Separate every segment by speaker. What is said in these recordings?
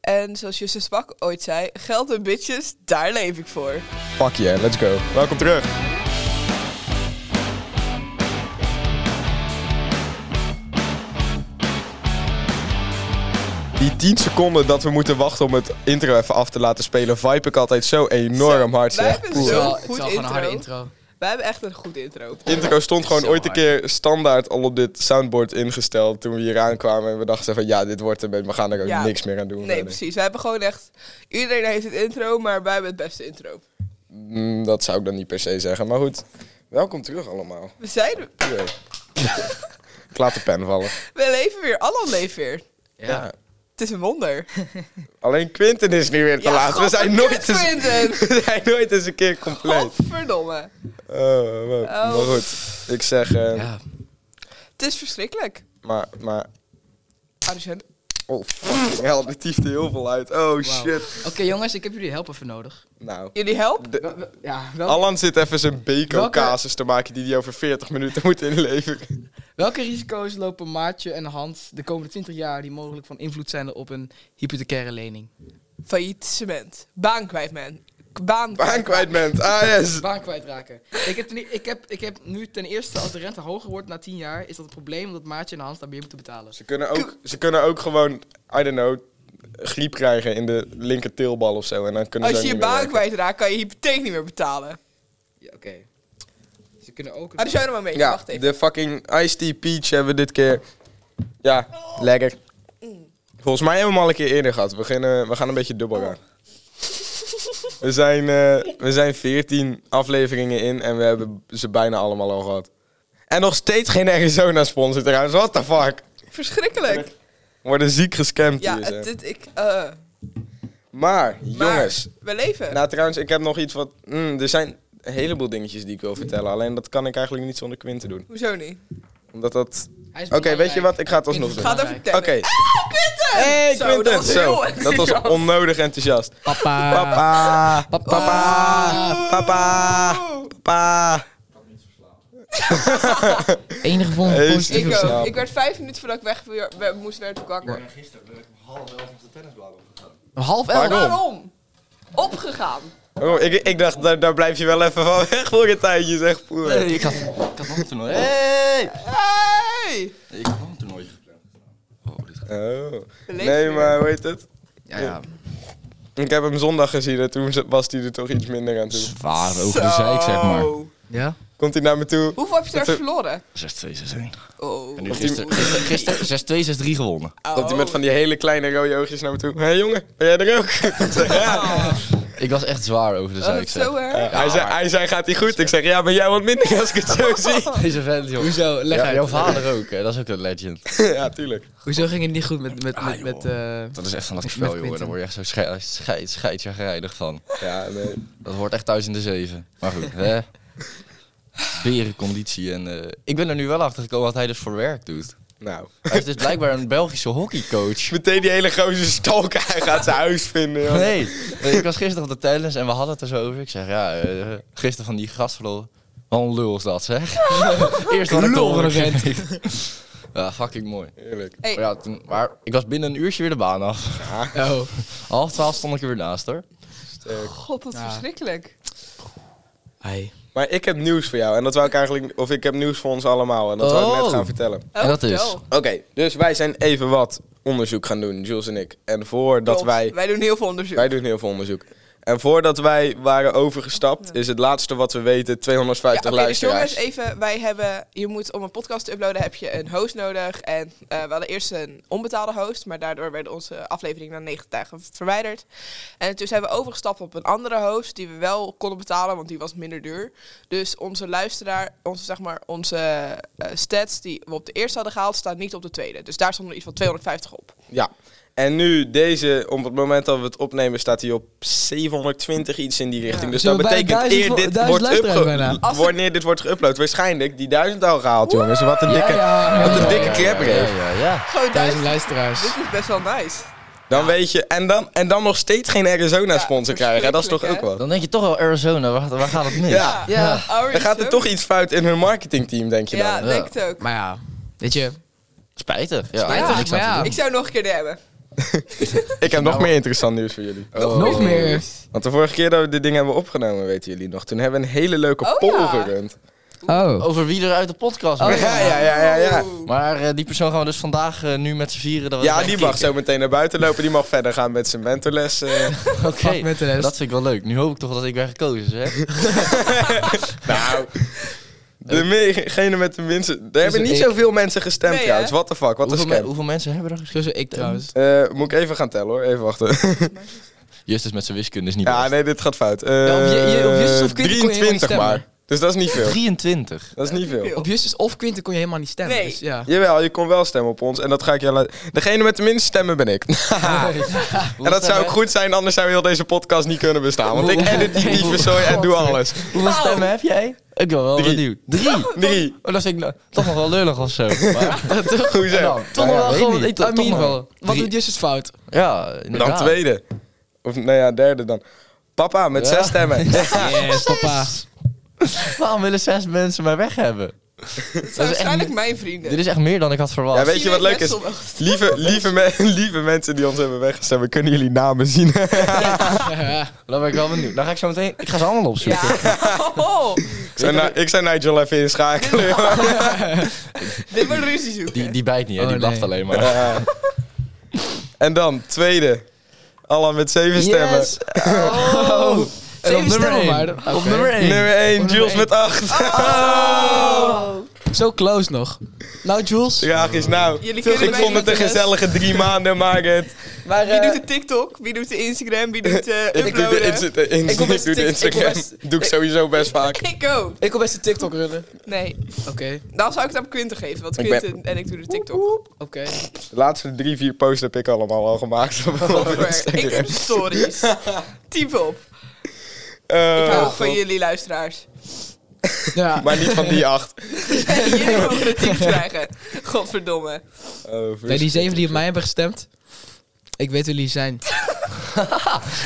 Speaker 1: En zoals Justus Pak ooit zei, geld en bitches, daar leef ik voor.
Speaker 2: Fuck yeah, let's go. Welkom terug. Die 10 seconden dat we moeten wachten om het intro even af te laten spelen, vibe ik altijd zo enorm
Speaker 1: Zo,
Speaker 2: hard.
Speaker 1: wij
Speaker 2: zeg.
Speaker 1: hebben
Speaker 2: Poeh.
Speaker 1: Zo'n
Speaker 3: wel-
Speaker 1: goed
Speaker 3: het is wel gewoon een harde
Speaker 1: intro.
Speaker 3: intro.
Speaker 1: Wij hebben echt een goed intro.
Speaker 2: intro stond gewoon
Speaker 3: Zo
Speaker 2: ooit een
Speaker 3: hard.
Speaker 2: keer standaard al op dit soundboard ingesteld toen we hier aankwamen. En we dachten van ja, dit wordt hem en we gaan er ook
Speaker 1: Ja.
Speaker 2: niks meer aan doen.
Speaker 1: Nee,
Speaker 2: verder.
Speaker 1: precies. Wij hebben gewoon echt... Iedereen heeft het intro, maar wij hebben het beste intro.
Speaker 2: Mm, dat zou ik dan niet per se zeggen. Maar goed, welkom terug allemaal.
Speaker 1: We zijn...
Speaker 2: Jee. ik laat de pen vallen.
Speaker 1: We leven weer. Allan leeft weer.
Speaker 3: Ja.
Speaker 1: Het is een wonder.
Speaker 2: Alleen Quinten is nu weer te
Speaker 1: Ja,
Speaker 2: laat. We zijn,
Speaker 1: godverdomme,
Speaker 2: nooit eens,
Speaker 1: Quinten.
Speaker 2: we zijn nooit eens een keer compleet.
Speaker 1: Godverdomme.
Speaker 2: Oh, wow.
Speaker 1: Oh.
Speaker 2: Maar goed, ik zeg... eh,
Speaker 3: Ja.
Speaker 1: Het is verschrikkelijk.
Speaker 2: Maar, maar...
Speaker 1: Arjen.
Speaker 2: Oh, fucking hell, die tiefde heel veel uit. Oh,
Speaker 3: Wauw.
Speaker 2: shit.
Speaker 3: Oké jongens, ik heb jullie help even nodig.
Speaker 2: Nou...
Speaker 1: Jullie help?
Speaker 2: de-
Speaker 3: Ja,
Speaker 2: Alan zit even zijn
Speaker 3: Welke-
Speaker 2: Beko-casus te maken die hij over 40 minuten moet inleveren.
Speaker 3: Welke risico's lopen Maartje en Hans de komende 20 jaar die mogelijk van invloed zijn op een hypothecaire lening?
Speaker 1: Faillissement. Baan kwijt, man. K- Baan
Speaker 2: Baan kwijt bent. Ah, yes.
Speaker 3: Baan kwijtraken. ik, heb ten i- ik, heb, ik heb nu ten eerste, als de rente hoger wordt na 10 jaar, is dat een probleem omdat Maartje en Hans daar meer moeten betalen.
Speaker 2: Ze kunnen ook, ze kunnen ook gewoon, I don't know, griep krijgen in de linker teelbal of zo. En dan kunnen
Speaker 1: Als
Speaker 2: ze
Speaker 1: je
Speaker 2: ook
Speaker 1: je
Speaker 2: niet meer
Speaker 1: baan
Speaker 2: werken.
Speaker 1: kwijtraakt, kan je je hypotheek niet meer betalen.
Speaker 3: Ja, oké. Ze kunnen ook... een-
Speaker 1: Arjen, nog maar mee.
Speaker 2: Ah, dus Ja,
Speaker 1: Wacht even.
Speaker 2: de fucking iced tea peach hebben we dit keer. Ja, lekker. Volgens mij hebben we hem al een keer eerder gehad. We, beginnen, we gaan een beetje dubbel
Speaker 1: Oh.
Speaker 2: gaan. We zijn, eh, we zijn 14 afleveringen in en we hebben ze bijna allemaal al gehad. En nog steeds geen Arizona-sponsor trouwens. What the fuck?
Speaker 1: Verschrikkelijk.
Speaker 2: We worden ziek gescamd
Speaker 1: Ja,
Speaker 2: hier. zeg.
Speaker 1: het, het- ik... eh,
Speaker 2: Maar,
Speaker 1: maar
Speaker 2: jongens.
Speaker 1: we leven.
Speaker 2: Nou, trouwens, ik heb nog iets wat... mm, er zijn een heleboel dingetjes die ik wil vertellen. Alleen dat kan ik eigenlijk niet zonder Quinten doen.
Speaker 1: Hoezo niet?
Speaker 2: Omdat dat...
Speaker 3: Hij is
Speaker 2: Oké, weet je
Speaker 3: belangrijk.
Speaker 2: wat? Ik ga het alsnog
Speaker 3: Quinten
Speaker 2: doen.
Speaker 3: gaat-
Speaker 1: Ga het
Speaker 3: Belangrijk.
Speaker 1: over
Speaker 2: Oké. Ah,
Speaker 1: vertellen. Hey,
Speaker 2: Zo, dat was,
Speaker 1: heel
Speaker 2: dat was
Speaker 1: enthousiast.
Speaker 2: onnodig enthousiast.
Speaker 3: Papa.
Speaker 2: Papa, papa,
Speaker 3: Papa.
Speaker 2: papa, papa.
Speaker 3: Enige vorm
Speaker 2: Hey,
Speaker 3: van
Speaker 2: Steve.
Speaker 1: Ik
Speaker 3: positief.
Speaker 1: ook.
Speaker 2: verslapen.
Speaker 1: eh, Ik werd vijf minuten voordat ik weg weer- we- moest, werd ik wakker.
Speaker 3: Half elf.
Speaker 2: Waarom?
Speaker 1: Waarom? Opgegaan.
Speaker 2: Oh, ik, ik dacht, daar, daar blijf je wel even van weg voor een tijdje, zeg. Poeh.
Speaker 4: ik had, ik had nog een toernooi. Hey!
Speaker 1: Hey!
Speaker 4: Ik had nog een toernooitje gepland. Oh, dit gaat...
Speaker 2: Oh.
Speaker 1: leven
Speaker 2: Nee,
Speaker 1: weer.
Speaker 2: maar hoe heet het?
Speaker 4: Ja, ja.
Speaker 2: Ik heb hem zondag gezien en toen was hij er toch iets minder aan toe.
Speaker 4: Zwaar over de zeik, zeg maar.
Speaker 1: Zo.
Speaker 3: Ja?
Speaker 2: Komt hij naar me toe?
Speaker 1: Hoeveel heb je daar
Speaker 2: Dat-
Speaker 1: verloren?
Speaker 4: 6-2, 6-1.
Speaker 1: Oh.
Speaker 4: En nu gisteren gister, gister, 6-2, 6-3 gewonnen.
Speaker 2: Komt hij met van die hele kleine rode oogjes naar me toe. Hé hey, jongen, ben jij er ook? Ik zeg, ja.
Speaker 4: Ik was echt zwaar over de
Speaker 1: Oh,
Speaker 4: zeik, zeg.
Speaker 1: zo erg.
Speaker 2: hij, zei,
Speaker 4: maar-
Speaker 2: hij zei, gaat hij goed? Ik zeg, ja, ben jij wat minder als ik het zo zie?
Speaker 4: Deze vent, joh.
Speaker 3: Hoezo? Leg
Speaker 4: Ja,
Speaker 3: uit.
Speaker 4: jouw vader ook, hè. dat is ook een legend.
Speaker 2: ja, tuurlijk.
Speaker 3: Hoezo ging het niet goed met... met,
Speaker 4: Ah,
Speaker 3: met, met eh,
Speaker 4: Dat is echt een lekker
Speaker 3: Met
Speaker 4: spel, joh.
Speaker 3: Quinten.
Speaker 4: Daar word je echt zo scheid, scheid, scheidjagrijdig van.
Speaker 2: Ja, nee.
Speaker 4: Dat hoort echt thuis in de zeven. Maar goed, hè. Berenconditie. En, eh, ik ben er nu wel achter gekomen wat hij dus voor werk doet.
Speaker 2: Nou.
Speaker 4: Hij is dus blijkbaar een Belgische hockeycoach.
Speaker 2: Meteen die hele gozer stalken. Hij gaat zijn huis vinden. joh.
Speaker 4: Nee, nee, ik was gisteren op de tennis en we hadden het er zo over. Ik zeg, ja, eh, gisteren van die gast verloren. Wat een lul is dat, zeg. Eerst had ik
Speaker 3: Lul van een
Speaker 4: de
Speaker 3: vent.
Speaker 4: vent. Ja, fucking mooi.
Speaker 2: Eerlijk.
Speaker 1: Hey.
Speaker 4: Maar, ja, toen, maar ik was binnen een uurtje weer de baan af.
Speaker 3: Oh.
Speaker 4: Half twaalf stond ik er weer naast, hoor.
Speaker 1: God, dat is
Speaker 3: Ja.
Speaker 1: verschrikkelijk.
Speaker 3: Hi.
Speaker 2: Maar ik heb nieuws voor jou. En dat wou ik eigenlijk... Of ik heb nieuws voor ons allemaal. En dat wou ik net
Speaker 4: Oh.
Speaker 2: gaan vertellen.
Speaker 1: Oh,
Speaker 4: En dat is?
Speaker 1: vertel.
Speaker 2: Oké, dus wij zijn even wat onderzoek gaan doen. Jules en ik. En voordat
Speaker 1: Klopt.
Speaker 2: wij...
Speaker 1: Wij doen heel veel onderzoek.
Speaker 2: Wij doen heel veel onderzoek. En voordat wij waren overgestapt, is het laatste wat we weten 250
Speaker 1: Ja, oké, dus
Speaker 2: luisteraars.
Speaker 1: jongens, even, wij hebben, je moet om een podcast te uploaden heb je een host nodig. En eh, we hadden eerst een onbetaalde host, maar daardoor werden onze afleveringen na 90 dagen verwijderd. En toen zijn we overgestapt op een andere host die we wel konden betalen, want die was minder duur. Dus onze luisteraar, onze, zeg maar, onze eh, stats die we op de eerste hadden gehaald, staan niet op de tweede. Dus daar stond er iets van 250 op.
Speaker 2: Ja. En nu, deze, op het moment dat we het opnemen, staat hij op 720 iets in die richting. Dus
Speaker 3: Zo
Speaker 2: dat
Speaker 3: bij
Speaker 2: betekent
Speaker 3: duizend
Speaker 2: eer
Speaker 3: vo-
Speaker 2: dit
Speaker 3: duizend
Speaker 2: wordt
Speaker 3: luisteraars
Speaker 2: upge-
Speaker 3: bijna.
Speaker 1: Als het-
Speaker 2: wanneer dit wordt geüpload, waarschijnlijk die duizend al gehaald, jongens. Wat een
Speaker 3: Ja,
Speaker 2: dikke,
Speaker 3: ja,
Speaker 2: wat een
Speaker 3: ja,
Speaker 2: dikke
Speaker 3: ja,
Speaker 2: klep er
Speaker 4: Ja,
Speaker 2: heeft.
Speaker 4: ja, ja.
Speaker 1: Gewoon
Speaker 3: Duizend
Speaker 1: duizend.
Speaker 3: luisteraars.
Speaker 1: Dit is best wel nice.
Speaker 2: Dan weet je, en dan, en dan nog steeds geen Arizona-sponsor
Speaker 1: Ja,
Speaker 2: krijgen. Dat is toch ook
Speaker 1: verschrikkelijk,
Speaker 2: wat?
Speaker 4: Dan denk je toch wel Arizona, waar, waar gaat het mis?
Speaker 2: Ja.
Speaker 3: Ja.
Speaker 1: Oh,
Speaker 2: Dan gaat er toch iets fout in hun marketingteam, denk je dan?
Speaker 1: Ja,
Speaker 4: Ja.
Speaker 1: denk het ook.
Speaker 3: Maar ja, weet je.
Speaker 4: Spijtig. Ja,
Speaker 3: Spijtig,
Speaker 4: niks aan
Speaker 3: maar
Speaker 4: te
Speaker 3: ja.
Speaker 4: doen.
Speaker 1: Ik zou nog een keer hebben.
Speaker 2: Ik heb
Speaker 3: Nou.
Speaker 2: nog meer interessant nieuws voor jullie.
Speaker 4: Oh.
Speaker 3: Nog meer.
Speaker 2: Want de vorige keer dat we dit ding hebben opgenomen, weten jullie nog, toen hebben we een hele leuke
Speaker 1: Oh,
Speaker 2: poll
Speaker 1: ja.
Speaker 2: gerund.
Speaker 3: Oh.
Speaker 4: Over wie er uit de podcast mag.
Speaker 2: ja, ja, ja, ja. ja.
Speaker 4: Maar eh, die persoon gaan we dus vandaag eh, nu met z'n vieren... Dat we
Speaker 2: Ja,
Speaker 4: erbij
Speaker 2: die mag
Speaker 4: kicken.
Speaker 2: zo meteen naar buiten lopen. Die mag verder gaan met zijn mentorles. eh.
Speaker 4: Oké,
Speaker 3: Fuck met de rest.
Speaker 4: dat vind ik wel leuk. Nu hoop ik toch dat ik ben gekozen, zeg.
Speaker 2: nou, degene met de minste... Er hebben
Speaker 3: Dus
Speaker 2: niet
Speaker 3: ik-
Speaker 2: zoveel mensen gestemd
Speaker 1: Nee, hè?
Speaker 2: trouwens. What the fuck, wat een
Speaker 4: Hoeveel, me-
Speaker 2: scam.
Speaker 4: hoeveel mensen hebben er
Speaker 3: Zo ik trouwens.
Speaker 2: Eh, moet ik even gaan tellen hoor, even wachten.
Speaker 4: Justus met zijn wiskunde is niet
Speaker 2: ja,
Speaker 4: best.
Speaker 2: nee, dit gaat fout. Eh,
Speaker 3: Ja, op je- je- op Justus of Quinten kon je helemaal niet
Speaker 2: 23 maar.
Speaker 3: stemmen.
Speaker 2: Dus dat is niet veel.
Speaker 4: 23.
Speaker 2: Dat is niet veel.
Speaker 3: Op Justus of Quinten kon je helemaal niet stemmen.
Speaker 1: Nee.
Speaker 3: Dus ja.
Speaker 2: Jawel, je kon wel stemmen op ons. En dat ga ik je laten... Degene met de minste stemmen ben ik. en dat zou ook goed zijn, anders zou heel deze podcast niet kunnen bestaan. Want ik edit die dievenzooi en doe alles.
Speaker 4: Hoeveel stemmen heb jij? Ik ben wel
Speaker 2: Drie.
Speaker 4: benieuwd. Drie?
Speaker 2: Drie.
Speaker 4: Oh, dat vind ik nou toch nog wel lullig of zo. Maar,
Speaker 2: Hoezo?
Speaker 4: Nou,
Speaker 3: Toch
Speaker 4: nou ja,
Speaker 3: wel
Speaker 4: weet
Speaker 3: gewoon,
Speaker 4: niet.
Speaker 3: ik, I
Speaker 4: Toch- toch
Speaker 3: mean,
Speaker 4: nog wel.
Speaker 3: wat
Speaker 4: Drie.
Speaker 3: doet Justus fout?
Speaker 4: Ja,
Speaker 2: Dan
Speaker 4: inderdaad.
Speaker 2: tweede. Of nou ja, derde dan. Papa, met
Speaker 4: Ja.
Speaker 2: zes stemmen. Ja.
Speaker 3: Yes, papa.
Speaker 4: Waarom willen zes mensen mij weg hebben?
Speaker 1: Dat zijn
Speaker 4: echt
Speaker 1: waarschijnlijk
Speaker 4: niet-
Speaker 1: mijn vrienden.
Speaker 4: Dit is echt meer dan ik had verwacht.
Speaker 2: Ja, weet je wat leuk is? Lieve, lieve, me- lieve mensen die ons hebben weggestemd, kunnen jullie namen zien.
Speaker 4: Dan ben ik wel benieuwd. Dan ga ik zo meteen... Ik ga ze allemaal opzoeken.
Speaker 1: Ja. Oh,
Speaker 2: Ik zou Na- ik zou Nigel even inschakelen.
Speaker 1: dit wordt ruzie zoeken.
Speaker 4: Die, die bijt niet, hè?
Speaker 3: Oh,
Speaker 4: die
Speaker 3: nee.
Speaker 4: lacht alleen maar.
Speaker 2: Ja. en dan, tweede. Alan met zeven stemmen.
Speaker 3: Yes. Oh.
Speaker 4: En
Speaker 3: Zeven stemmen
Speaker 4: één.
Speaker 3: maar.
Speaker 4: Op
Speaker 3: Oké.
Speaker 4: nummer 1.
Speaker 2: Nummer 1,
Speaker 3: nummer
Speaker 2: Jules
Speaker 3: één.
Speaker 2: met 8.
Speaker 1: Oh.
Speaker 3: Oh. Zo close nog. Nou, Jules.
Speaker 2: De vraag is nou,
Speaker 1: Jullie kunnen
Speaker 2: ik
Speaker 1: mij
Speaker 2: vond
Speaker 1: niet
Speaker 2: het een
Speaker 1: de rest.
Speaker 2: gezellige drie maanden, maar het...
Speaker 3: Maar,
Speaker 1: Wie
Speaker 3: eh,
Speaker 1: doet de TikTok? Wie doet de Instagram? Wie doet de
Speaker 2: Ik doe
Speaker 1: eh,
Speaker 2: de,
Speaker 1: uploaden?
Speaker 2: insta- de insta-
Speaker 3: Ik wil best
Speaker 2: ik doe de
Speaker 3: tik- ik wil
Speaker 2: Instagram.
Speaker 3: best-
Speaker 2: doe ik sowieso best vaak.
Speaker 1: Ik ook.
Speaker 3: ik wil best de TikTok runnen.
Speaker 1: Nee,
Speaker 3: Oké.
Speaker 1: dan zou ik het aan Quinten geven, want
Speaker 2: Ik ben-
Speaker 1: Quinten en ik doe de Tiktok.
Speaker 3: Oké.
Speaker 2: De laatste drie, vier posts heb ik allemaal al gemaakt. op- op
Speaker 1: Over. Ik
Speaker 2: Instagram.
Speaker 1: doe de stories. Typ op.
Speaker 2: Eh,
Speaker 1: Ik hou van jullie luisteraars.
Speaker 3: Ja.
Speaker 2: Maar niet van die acht.
Speaker 1: jullie mogen de tips krijgen. Godverdomme.
Speaker 2: Oh,
Speaker 3: Nee, die zeven die op mij hebben gestemd. Ik weet wie die zijn.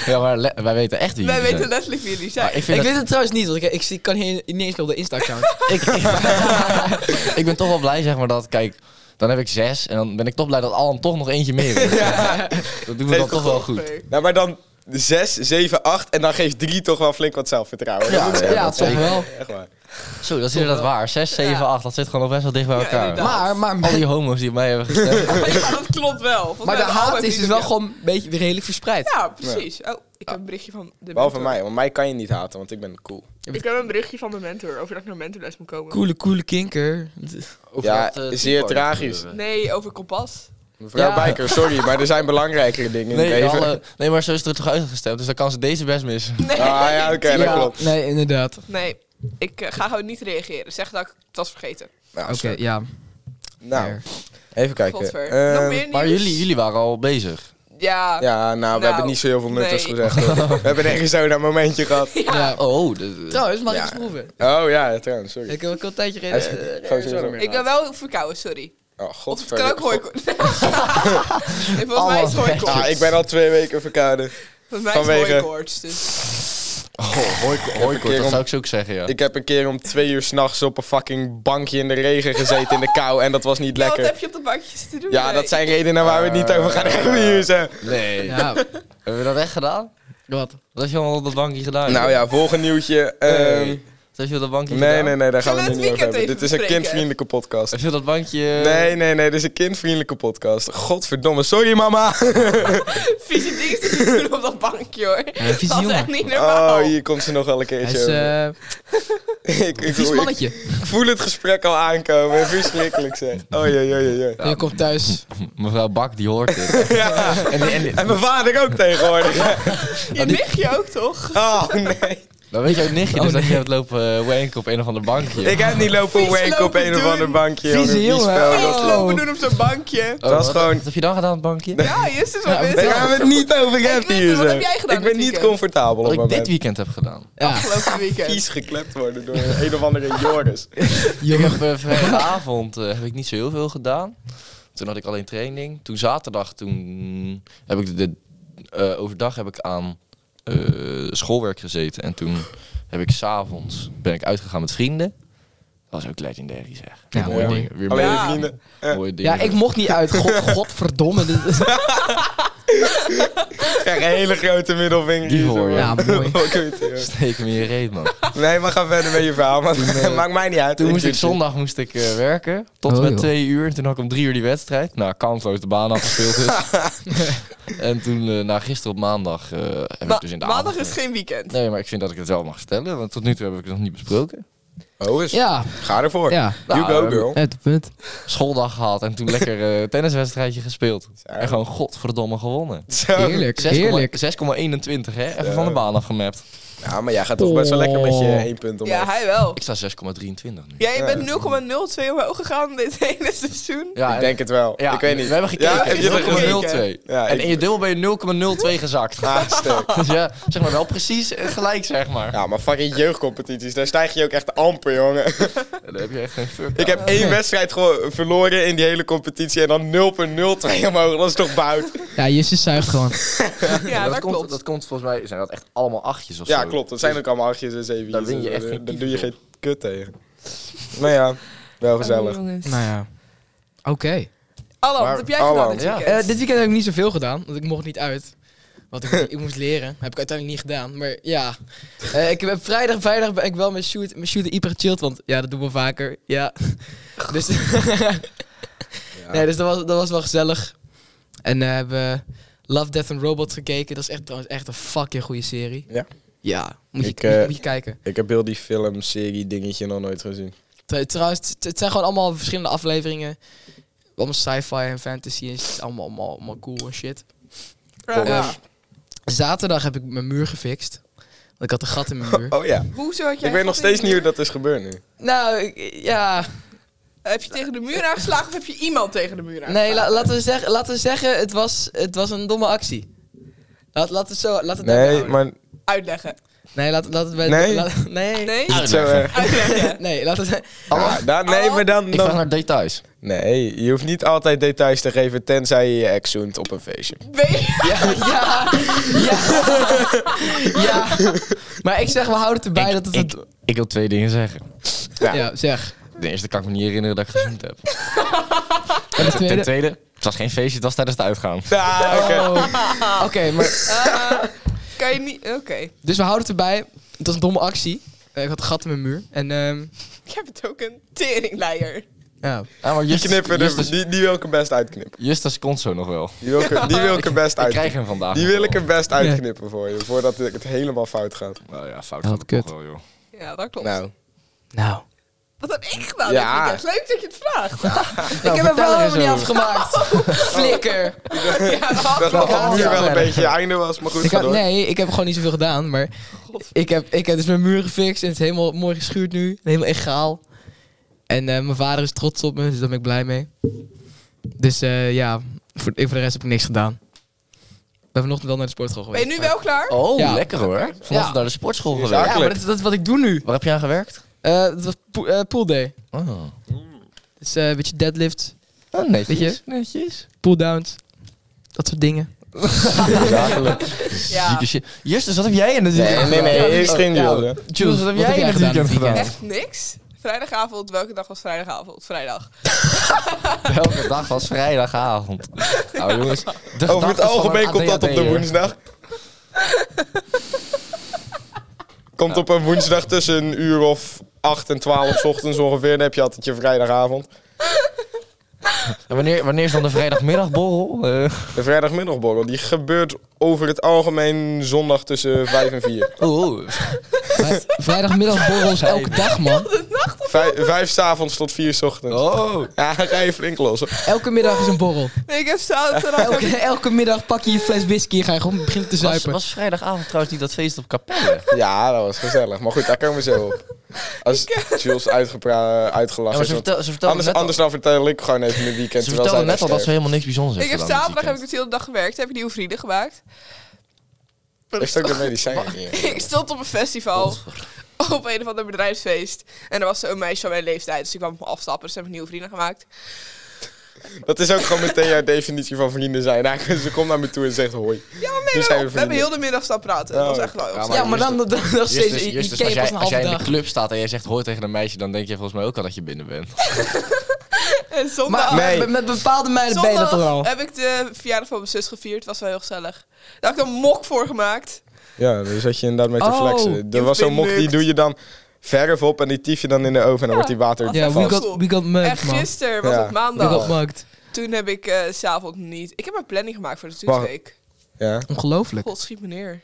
Speaker 4: Ja, maar le- wij weten echt wie
Speaker 1: Wij
Speaker 4: jullie
Speaker 1: weten
Speaker 4: zijn.
Speaker 1: letterlijk wie jullie
Speaker 4: Maar
Speaker 1: zijn.
Speaker 4: ik vind
Speaker 3: ik
Speaker 4: dat-
Speaker 3: weet het trouwens niet, want ik, ik, zie- kan hier niet eens meer op de Insta-account.
Speaker 4: ik, ik, ik ben toch wel blij, zeg maar, dat... Kijk, dan heb ik zes. En dan ben ik toch blij dat Alan toch nog eentje meer is. Dat doen we dan toch wel goed.
Speaker 2: Nou, maar dan 6, 7, 8 en dan geeft 3 toch wel flink wat zelfvertrouwen. Dat is
Speaker 3: ja,
Speaker 2: echt-
Speaker 3: ja, toch wel.
Speaker 2: echt waar.
Speaker 4: Zo, dat is inderdaad waar. Zes, zeven,
Speaker 1: Ja.
Speaker 4: acht. Dat zit gewoon nog best wel dicht bij
Speaker 1: Ja,
Speaker 4: elkaar.
Speaker 1: inderdaad.
Speaker 3: Maar, maar,
Speaker 4: Al
Speaker 3: maar,
Speaker 4: die homo's die op mij hebben gestemd.
Speaker 1: Ja, dat klopt wel. Volgens mij
Speaker 3: de
Speaker 1: hebben
Speaker 3: haat
Speaker 1: allebei
Speaker 3: is dus wel
Speaker 1: vrienden
Speaker 3: gewoon een beetje redelijk verspreid.
Speaker 1: Ja, precies. Oh, ik heb een berichtje van de
Speaker 2: Behalve
Speaker 1: mentor.
Speaker 2: mij, want mij kan je niet haten, want ik ben cool.
Speaker 1: Ik heb een berichtje van mijn mentor over dat ik naar mentorles moet komen.
Speaker 3: Coole, coole kinker.
Speaker 2: Ja, zeer tragisch.
Speaker 1: Nee, over kompas.
Speaker 2: Mevrouw
Speaker 3: Ja.
Speaker 2: Bijker, sorry, maar er zijn belangrijkere dingen in
Speaker 4: Nee,
Speaker 2: het leven.
Speaker 4: alle- nee, maar zo is het er toch uitgestemd. Dus dan kan ze deze best missen.
Speaker 1: Nee.
Speaker 2: Ah ja, oké, dat
Speaker 3: Ja,
Speaker 2: klopt.
Speaker 3: Nee, inderdaad.
Speaker 1: Nee, ik eh, ga gewoon niet reageren. Zeg dat ik het was vergeten.
Speaker 2: Nou,
Speaker 3: Oké,
Speaker 2: zo.
Speaker 3: ja.
Speaker 2: nou even kijken.
Speaker 1: Godver.
Speaker 2: Eh,
Speaker 1: Nog meer nieuws?
Speaker 4: Maar jullie, jullie waren al bezig.
Speaker 1: Ja.
Speaker 2: ja, nou, we
Speaker 1: Nou,
Speaker 2: hebben niet zo heel veel nuttigs
Speaker 1: nee.
Speaker 2: gezegd. hoor. We hebben ergens zo een momentje gehad.
Speaker 3: Ja.
Speaker 1: Ah.
Speaker 4: Oh, de-
Speaker 3: Trouwens, mag ik
Speaker 2: Ja.
Speaker 3: eens proeven?
Speaker 2: Oh ja, trouwens, sorry.
Speaker 3: Ik heb ook al een tijdje
Speaker 2: Hij is- gewoon zo- zo.
Speaker 3: reden.
Speaker 1: Ik ben wel verkouden, sorry.
Speaker 2: Oh,
Speaker 1: Of het
Speaker 2: godver.
Speaker 1: kan ook hooikoorts. Nee, Volgens mij is het
Speaker 4: Allemaal
Speaker 1: hooikoorts.
Speaker 2: Ah, ik ben al twee weken verkouden.
Speaker 1: Volgens mij is het
Speaker 2: vanwege-
Speaker 1: hooikoorts. Dus.
Speaker 4: oh hoi, hoi,
Speaker 2: keer
Speaker 4: dat
Speaker 2: om-
Speaker 4: zou ik zo ook zeggen, ja.
Speaker 2: Ik heb een keer om twee uur s'nachts op een fucking bankje in de regen gezeten in de kou. En dat was niet
Speaker 1: Ja, wat
Speaker 2: lekker.
Speaker 1: heb je op de bankje zitten doen?
Speaker 2: Ja,
Speaker 1: Nee.
Speaker 2: dat zijn redenen waar we het niet over gaan hebben hier. zo.
Speaker 4: Nee.
Speaker 3: Ja,
Speaker 4: Hebben we dat echt gedaan?
Speaker 3: wat?
Speaker 4: Wat heb je allemaal op dat bankje gedaan?
Speaker 2: Nou ja, volgende nieuwtje. ehm,
Speaker 4: Nee. Wat heb je op dat bankje
Speaker 2: nee,
Speaker 4: gedaan?
Speaker 2: nee, nee, daar gaan we
Speaker 1: Zullen we het
Speaker 2: het niet over
Speaker 1: weekend
Speaker 2: hebben.
Speaker 1: even
Speaker 2: Dit is een
Speaker 1: bespreken?
Speaker 2: kindvriendelijke podcast.
Speaker 4: Heb je op dat bankje...
Speaker 2: Nee, nee, nee, dit is een kindvriendelijke podcast. Godverdomme, sorry mama.
Speaker 1: Vieze dingen te doen op dat bankje, hoor.
Speaker 3: vieze
Speaker 1: dat is
Speaker 3: jongen.
Speaker 1: echt niet
Speaker 2: Oh,
Speaker 1: normaal.
Speaker 2: hier komt ze nog wel een
Speaker 3: Hij
Speaker 2: keertje
Speaker 3: is
Speaker 2: over.
Speaker 3: eh
Speaker 2: ik, ik,
Speaker 3: vies
Speaker 2: ik-
Speaker 3: mannetje.
Speaker 2: ik voel het gesprek al aankomen. Verschrikkelijk zeg. Oh, ja, ja, ja, ja.
Speaker 3: En je komt thuis.
Speaker 4: Mevrouw Bak, die hoort dit.
Speaker 2: Ja,
Speaker 4: en, die- en die-
Speaker 2: En mijn vader ook tegenwoordig.
Speaker 1: je nichtje ook, toch?
Speaker 2: Oh, nee.
Speaker 4: dan weet je ook nichtje
Speaker 3: Oh,
Speaker 4: dus dat
Speaker 3: nee.
Speaker 4: je hebt lopen eh, wanken op een of ander bankje.
Speaker 2: Ik heb niet lopen
Speaker 1: Vies
Speaker 2: wank op
Speaker 1: lopen
Speaker 2: een of
Speaker 1: doen.
Speaker 2: ander bankje. joh.
Speaker 3: Vieze
Speaker 2: Een vies
Speaker 3: jongen.
Speaker 2: spel,
Speaker 1: Feest
Speaker 2: dat-
Speaker 3: Oh.
Speaker 1: lopen doen op zo'n bankje.
Speaker 4: Oh,
Speaker 2: dat is
Speaker 4: wat-
Speaker 2: gewoon-
Speaker 4: Wat heb je dan gedaan op het bankje?
Speaker 1: Ja, is het wel best.
Speaker 2: Daar gaan we het niet over hebben
Speaker 1: Quinten,
Speaker 2: hier.
Speaker 1: wat
Speaker 2: zo.
Speaker 1: heb jij gedaan
Speaker 2: Ik ben
Speaker 1: dit
Speaker 2: niet
Speaker 1: weekend?
Speaker 2: comfortabel
Speaker 4: Wat
Speaker 2: op
Speaker 4: ik dit
Speaker 2: moment.
Speaker 4: weekend heb gedaan.
Speaker 2: Oh,
Speaker 3: Ja,
Speaker 1: Afgelopen weekend.
Speaker 2: Vies geklept worden door een of andere Joris.
Speaker 4: Ik
Speaker 3: jongen.
Speaker 4: heb eh, vrijdagavond eh, heb ik niet zo heel veel gedaan. Toen had ik alleen training. Toen zaterdag, toen heb ik de, eh, overdag heb ik aan eh, schoolwerk gezeten. En toen heb ik s'avonds ben ik uitgegaan met vrienden. Dat was ook legendarisch zeg.
Speaker 3: Ja,
Speaker 4: mooie
Speaker 2: mooi.
Speaker 4: dingen. Weer
Speaker 2: Alleen je
Speaker 1: Ja.
Speaker 2: vrienden.
Speaker 4: mooie dingen.
Speaker 3: Ja, ik mocht niet uit. God, godverdomme. Dit-
Speaker 2: Krijg een hele grote middelvinger.
Speaker 4: Die
Speaker 2: hier,
Speaker 4: voor
Speaker 2: zeg maar.
Speaker 3: je. Ja, mooi.
Speaker 2: Wat kut, joh.
Speaker 4: Steek hem in je reet, man.
Speaker 2: Nee, maar ga verder met je verhaal. Maar, maakt mij niet uit.
Speaker 4: Toen moest
Speaker 2: zit
Speaker 4: ik
Speaker 2: hier.
Speaker 4: zondag moest ik, eh, werken. Tot en
Speaker 3: Oh,
Speaker 4: met
Speaker 3: joh.
Speaker 4: twee uur. En toen had ik om drie uur die wedstrijd. Nou, kansloos de baan afgespeeld is. en toen, eh na gisteren op maandag, eh, heb
Speaker 1: Ma-
Speaker 4: ik dus in de
Speaker 1: maandag
Speaker 4: avond,
Speaker 1: is geen weekend.
Speaker 4: Nee, maar ik vind dat ik het wel mag stellen. Want tot nu toe heb ik het nog niet besproken.
Speaker 2: Oh, is.
Speaker 3: Ja,
Speaker 2: Ga ervoor.
Speaker 3: ja.
Speaker 2: You
Speaker 4: Nou,
Speaker 2: go,
Speaker 4: eh,
Speaker 2: girl.
Speaker 3: Het punt.
Speaker 4: Schooldag gehad en toen lekker eh, tenniswedstrijdje gespeeld. En gewoon godverdomme gewonnen.
Speaker 2: Zo.
Speaker 3: Heerlijk,
Speaker 4: 6,21
Speaker 3: heerlijk.
Speaker 4: hè? Even
Speaker 2: Zo.
Speaker 4: van de baan afgemapt.
Speaker 2: Ja, maar jij gaat toch best wel lekker met je
Speaker 3: Oh.
Speaker 2: één punt omhoog.
Speaker 1: Ja, hij wel.
Speaker 4: Ik sta 6,23 nu.
Speaker 1: Jij
Speaker 2: Ja.
Speaker 1: bent 0,02 omhoog gegaan dit hele seizoen.
Speaker 4: Ja,
Speaker 2: ik
Speaker 4: en-
Speaker 2: denk het wel.
Speaker 4: ja,
Speaker 2: ik weet niet.
Speaker 4: We hebben gekeken.
Speaker 2: Ja, heb je er gekeken?
Speaker 4: 0,02.
Speaker 2: Ja,
Speaker 4: en
Speaker 2: ik-
Speaker 4: in je dubbel ben je 0,02 gezakt.
Speaker 2: Ah, sterk.
Speaker 4: Dus ja, zeg maar wel precies eh, gelijk, zeg maar.
Speaker 2: Ja, maar fucking jeugdcompetities, daar stijg je ook echt amper, jongen.
Speaker 4: Dan heb je echt geen fuck.
Speaker 2: Ik heb één wedstrijd gewoon verloren in die hele competitie en dan 0.02 omhoog. Dat is toch bout?
Speaker 3: Ja, Justus zuigt gewoon.
Speaker 1: Ja,
Speaker 4: Ja,
Speaker 1: dat
Speaker 4: komt,
Speaker 1: klopt.
Speaker 4: dat komt volgens mij, zijn dat echt allemaal achtjes of
Speaker 2: Ja,
Speaker 4: zo.
Speaker 2: klopt. Dat zijn ook allemaal achtjes en zeventjes.
Speaker 4: Daar win je
Speaker 2: Dus,
Speaker 4: echt
Speaker 2: eh,
Speaker 4: geen
Speaker 2: dus Daar
Speaker 4: piep
Speaker 2: doe je
Speaker 4: op.
Speaker 2: geen kut tegen. Nou ja, wel gezellig.
Speaker 3: Nou ja. Oké.
Speaker 1: Alan,
Speaker 2: Maar-
Speaker 1: wat heb jij
Speaker 2: Alan,
Speaker 1: gedaan dit
Speaker 4: ja.
Speaker 1: weekend?
Speaker 3: Eh, dit weekend heb ik niet zoveel gedaan, want ik mocht niet uit. Want ik, ik moest leren. Heb ik uiteindelijk niet gedaan. Maar ja. Eh, ik heb vrijdag, vrijdag ben ik wel met Shoot, met Shoot en Ieper gechilled. Want ja, dat doen we vaker. Ja. Dus, nee, dus dat was, dat was wel gezellig. En eh, hebben we Love, Death and Robots gekeken. Dat is echt, trouwens echt een fucking goede serie.
Speaker 2: Ja?
Speaker 3: Ja. Moet je,
Speaker 2: Ik, eh,
Speaker 3: moet je kijken.
Speaker 2: Ik heb heel die film, serie, dingetje nog nooit gezien.
Speaker 3: Tr- Trouwens, het- het zijn gewoon allemaal verschillende afleveringen. Allemaal sci-fi en fantasy. En het is allemaal, allemaal, allemaal cool en shit.
Speaker 1: Ja.
Speaker 2: Ja.
Speaker 3: Zaterdag heb ik mijn muur gefixt. Want ik had een gat in mijn muur.
Speaker 2: Oh ja.
Speaker 1: Hoezo had jij...
Speaker 2: Ik weet nog
Speaker 1: gat in
Speaker 2: steeds
Speaker 1: je
Speaker 2: niet
Speaker 1: muur?
Speaker 2: hoe dat is gebeurd nu.
Speaker 3: Nou, ik- ja.
Speaker 1: Heb je tegen de muur aangeslagen of heb je iemand tegen de muur aangeslagen?
Speaker 3: Nee, la- laten, we zeggen, laten we zeggen, het was, het was een domme actie. Laat, laat het zo. Laat het daarbij
Speaker 2: Nee,
Speaker 3: houden.
Speaker 2: maar
Speaker 1: Uitleggen.
Speaker 3: Nee, laat, laat het bij.
Speaker 2: Nee.
Speaker 3: laat- nee.
Speaker 1: Nee?
Speaker 2: niet zo erg.
Speaker 1: Uitleggen.
Speaker 3: Nee, laat het.
Speaker 2: Ja, dan, Ah, nou, nee, maar dan,
Speaker 4: Ik vraag
Speaker 2: dan...
Speaker 4: naar details.
Speaker 2: Nee, je hoeft niet altijd details te geven, tenzij je je ex zoent op een feestje.
Speaker 1: Weet je-
Speaker 3: Ja, ja, ja. ja. Maar ik zeg, we houden het erbij dat het.
Speaker 4: ik,
Speaker 3: een-
Speaker 4: ik wil twee dingen zeggen.
Speaker 2: ja.
Speaker 3: ja, zeg.
Speaker 4: De eerste kan ik me niet herinneren dat ik gezoend heb.
Speaker 3: En de
Speaker 4: Ten
Speaker 3: tweede.
Speaker 4: tweede, het was geen feestje, het was tijdens het uitgaan.
Speaker 2: Ja, Ah, oké.
Speaker 3: Oh. Oké, maar.
Speaker 1: Eh, kan je niet... Oké.
Speaker 3: Dus we houden het erbij. Het was een domme actie. Eh, Ik had een gat in mijn muur. En, ehm
Speaker 1: Ik heb het ook een teringleier.
Speaker 3: ja.
Speaker 4: Ja, Ah, maar
Speaker 2: Die
Speaker 4: Justus,
Speaker 2: knippen, er-
Speaker 4: Justus,
Speaker 2: die, die wil ik er best uitknippen.
Speaker 4: Justus komt zo nog wel.
Speaker 2: Die wil ik, er- die wil ik er best
Speaker 4: Ik krijg
Speaker 2: uitknippen.
Speaker 4: hem vandaag.
Speaker 2: Die
Speaker 4: nog
Speaker 2: wil ik
Speaker 4: wel.
Speaker 2: er best uitknippen voor je, voordat ik het helemaal fout gaat.
Speaker 4: Nou ja, fout
Speaker 3: Dat
Speaker 4: gaat het
Speaker 3: kut.
Speaker 4: toch wel, joh.
Speaker 1: Ja, dat klopt.
Speaker 2: Nou,
Speaker 3: Nou.
Speaker 1: Wat heb ik gedaan
Speaker 2: Ja.
Speaker 1: dit weekend? Leuk dat je het vraagt.
Speaker 3: ik heb hem wel helemaal niet afgemaakt. Flikker.
Speaker 1: Ja, dat had
Speaker 2: ik dacht dat
Speaker 1: ik al.
Speaker 2: dat nu
Speaker 3: Ja.
Speaker 2: wel een
Speaker 3: Verder.
Speaker 2: beetje je einde was, maar goed,
Speaker 3: Ik
Speaker 2: ga
Speaker 3: had,
Speaker 2: door.
Speaker 3: nee, ik heb gewoon niet zoveel gedaan, maar ik heb, ik heb dus mijn muur gefixt en het is helemaal mooi geschuurd nu. Helemaal egaal. En eh, mijn vader is trots op me, dus daar ben ik blij mee. Dus eh, ja, voor, ik- voor de rest heb ik niks gedaan. Ik ben vanochtend wel naar de sportschool
Speaker 1: Ben
Speaker 3: geweest.
Speaker 1: je nu
Speaker 3: maar-
Speaker 1: wel klaar?
Speaker 4: Oh,
Speaker 3: Ja.
Speaker 4: lekker hoor. Vanaf
Speaker 3: Ja.
Speaker 4: naar de sportschool
Speaker 2: Ja.
Speaker 4: gewerkt.
Speaker 3: Ja, maar dat is, dat is wat ik doe nu.
Speaker 4: Waar heb je aan gewerkt?
Speaker 3: Eh dat was po eh, pool day.
Speaker 4: Oh,
Speaker 3: Dus eh, een beetje deadlift,
Speaker 4: netjes.
Speaker 3: Weet
Speaker 4: Netjes.
Speaker 3: pull downs, dat soort dingen.
Speaker 2: Zakelijk.
Speaker 1: Ja.
Speaker 4: Zieke shit. Justus, wat heb jij in het
Speaker 2: Nee,
Speaker 4: weekend
Speaker 2: nee, nee,
Speaker 4: gedaan?
Speaker 2: is geen
Speaker 4: Ja.
Speaker 2: deal. hè.
Speaker 4: Jules, wat heb jij in het
Speaker 3: gedaan
Speaker 4: weekend
Speaker 3: dit
Speaker 4: gedaan?
Speaker 3: weekend?
Speaker 1: Echt niks? Vrijdagavond, welke dag was vrijdagavond? Vrijdag.
Speaker 4: Elke dag was vrijdagavond. Nou jongens, de
Speaker 2: Over het
Speaker 4: gedachten van
Speaker 2: algemeen
Speaker 4: een
Speaker 2: komt dat op de
Speaker 4: ADHD'er.
Speaker 2: woensdag. Komt op een woensdag tussen een uur of 8 en 12 's ochtends ongeveer. Dan heb je altijd je vrijdagavond.
Speaker 4: En wanneer, wanneer is dan de vrijdagmiddagborrel? Eh,
Speaker 2: De vrijdagmiddagborrel die gebeurt over het algemeen zondag tussen 5 en 4.
Speaker 4: oh, oh.
Speaker 3: Vrij- Vrijdagmiddag borrels elke dag, man.
Speaker 2: Vijf, vijf 's avonds tot 4 's ochtends.
Speaker 4: Oh.
Speaker 2: Ja, ga je flink los. hoor.
Speaker 3: Elke middag is een borrel.
Speaker 1: Nee, ik heb zaterdag...
Speaker 3: Elke, elke middag pak je je fles whisky en ga je gewoon beginnen te
Speaker 4: Was,
Speaker 3: zuipen.
Speaker 4: was vrijdagavond trouwens niet dat feest op Capelle?
Speaker 2: Ja, dat was gezellig. Maar goed, daar komen we zo op. Als Jules uitgepra-
Speaker 4: Ja,
Speaker 2: uitgelachen
Speaker 4: maar
Speaker 2: is.
Speaker 4: ze,
Speaker 2: want
Speaker 4: vertel, ze vertelden
Speaker 2: Anders,
Speaker 4: net, al-
Speaker 2: anders dan vertel ik gewoon even mijn weekend.
Speaker 4: ze
Speaker 2: terwijl
Speaker 4: vertelden
Speaker 2: zij
Speaker 4: net al dat ze
Speaker 2: sterft.
Speaker 4: helemaal niks bijzonders
Speaker 1: Ik
Speaker 4: hebben
Speaker 1: heb
Speaker 4: gedaan dit
Speaker 1: zaterdag heb ik dus
Speaker 4: weekend.
Speaker 1: de hele dag gewerkt, heb ik nieuwe vrienden gemaakt.
Speaker 2: Ik stuk de medicijnen niet in.
Speaker 1: Ik stond op een festival. Op een of ander bedrijfsfeest. En er was zo'n meisje van mijn leeftijd. Dus die kwam op me afstappen. Dus heb ik nieuwe vrienden gemaakt.
Speaker 2: Dat is ook gewoon meteen jouw definitie van vrienden zijn. Eigenlijk, ze komt naar me toe en zegt hoi.
Speaker 1: Ja, maar mee daarop.
Speaker 2: Dus zijn we
Speaker 1: We hebben
Speaker 2: vrienden.
Speaker 1: heel de middag staan praten. Dat was echt wel heel
Speaker 4: Ja,
Speaker 1: gezellig.
Speaker 3: ja, maar dan, dan, dan nog steeds.
Speaker 4: Justus,
Speaker 3: je-
Speaker 4: Justus,
Speaker 3: je
Speaker 4: als
Speaker 3: keek pas
Speaker 4: jij,
Speaker 3: een
Speaker 4: als
Speaker 3: halve
Speaker 4: jij in de
Speaker 3: dag.
Speaker 4: club staat en jij zegt hoor tegen een meisje, dan denk je volgens mij ook al dat je binnen bent.
Speaker 1: En zondag,
Speaker 3: Maar
Speaker 2: Nee.
Speaker 3: met- met bepaalde meiden ben je
Speaker 1: zondag
Speaker 3: dat toch al.
Speaker 1: heb ik de verjaardag van mijn zus gevierd. Was wel heel gezellig. Daar had ik een mok voor gemaakt.
Speaker 2: Ja, daar zat je inderdaad mee te
Speaker 3: Oh,
Speaker 2: flexen. Er
Speaker 1: je
Speaker 2: was zo'n mok, die
Speaker 1: pinlukt.
Speaker 2: doe je dan verf op en die tief je dan in de oven en dan wordt die water
Speaker 3: Ja, we
Speaker 1: vast.
Speaker 3: got, we got mugged,
Speaker 1: en
Speaker 3: man.
Speaker 1: gisteren was
Speaker 2: Ja.
Speaker 1: het
Speaker 3: We got
Speaker 1: maandag.
Speaker 3: mugged.
Speaker 1: Toen heb ik eh, 's s'avonds niet... Ik heb een planning gemaakt voor de
Speaker 2: Wacht.
Speaker 1: toetsweek.
Speaker 2: Ja.
Speaker 3: Ongelooflijk.
Speaker 1: God, schiet me neer.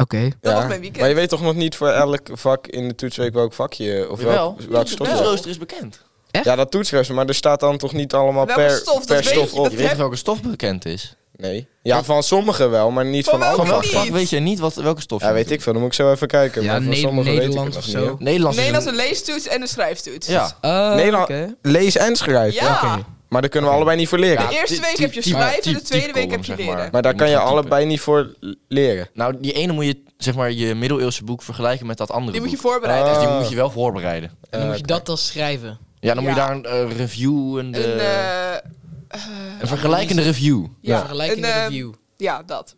Speaker 3: Oké.
Speaker 1: Dat
Speaker 2: Ja.
Speaker 1: was mijn weekend.
Speaker 2: Maar je weet toch nog niet voor elk vak in de toetsweek welk vakje of
Speaker 4: Jawel.
Speaker 2: welk, welk
Speaker 4: De
Speaker 2: stof.
Speaker 1: Jawel.
Speaker 4: toetsrooster is bekend.
Speaker 2: Ja, dat toetsrest, maar er staat dan toch niet allemaal
Speaker 1: Welke
Speaker 2: per
Speaker 1: stof, dat
Speaker 2: per
Speaker 1: weet
Speaker 2: stof
Speaker 1: je,
Speaker 2: op.
Speaker 1: dat
Speaker 4: Je weet toch welke stof bekend is?
Speaker 2: Nee. Ja, van sommigen wel, maar niet van,
Speaker 1: Van welke
Speaker 2: alle
Speaker 4: Van welk
Speaker 1: niet.
Speaker 2: vakken.
Speaker 4: vak weet je niet wat, welke stof je
Speaker 2: Ja,
Speaker 4: moet
Speaker 2: weet
Speaker 4: doen?
Speaker 2: ik veel. Dan moet ik zo even kijken.
Speaker 3: Ja,
Speaker 2: maar van
Speaker 3: Ne-
Speaker 2: sommigen
Speaker 3: Nederlands
Speaker 2: weet ik
Speaker 3: of
Speaker 2: het nog
Speaker 3: zo.
Speaker 2: niet,
Speaker 4: Nederlands,
Speaker 1: Nederlands
Speaker 4: is
Speaker 1: een leestoets en een schrijftoets.
Speaker 4: Ja.
Speaker 3: Oh,
Speaker 2: Nee, dan-
Speaker 3: oké.
Speaker 2: hè. Lees en schrijven.
Speaker 1: Ja.
Speaker 3: Oké.
Speaker 2: Maar daar kunnen we allebei niet voor leren.
Speaker 1: De eerste
Speaker 4: ty-
Speaker 1: week
Speaker 4: ty-
Speaker 1: heb je
Speaker 4: type-
Speaker 1: schrijven,
Speaker 4: type-
Speaker 1: de tweede week heb
Speaker 4: typecolumn,
Speaker 1: je
Speaker 4: zeg
Speaker 1: leren.
Speaker 2: Maar daar
Speaker 4: Je
Speaker 2: kan
Speaker 4: moet
Speaker 2: je
Speaker 4: gaan typen.
Speaker 2: allebei niet voor l- leren.
Speaker 4: Nou, die ene moet je, zeg maar, je middeleeuwse boek vergelijken met dat andere
Speaker 1: Die moet je
Speaker 4: boek.
Speaker 1: voorbereiden.
Speaker 4: Dus die
Speaker 2: Ah.
Speaker 4: moet je wel voorbereiden.
Speaker 3: En dan moet je
Speaker 2: Eh,
Speaker 3: dat dan schrijven.
Speaker 4: Ja, dan moet je
Speaker 1: Ja.
Speaker 4: daar een eh, review
Speaker 2: Oh,
Speaker 4: en de-
Speaker 1: Een, eh,
Speaker 4: een vergelijkende review
Speaker 1: Ja.
Speaker 3: Ja. Vergelijkende
Speaker 1: Een, eh,
Speaker 3: review.
Speaker 1: ja, dat.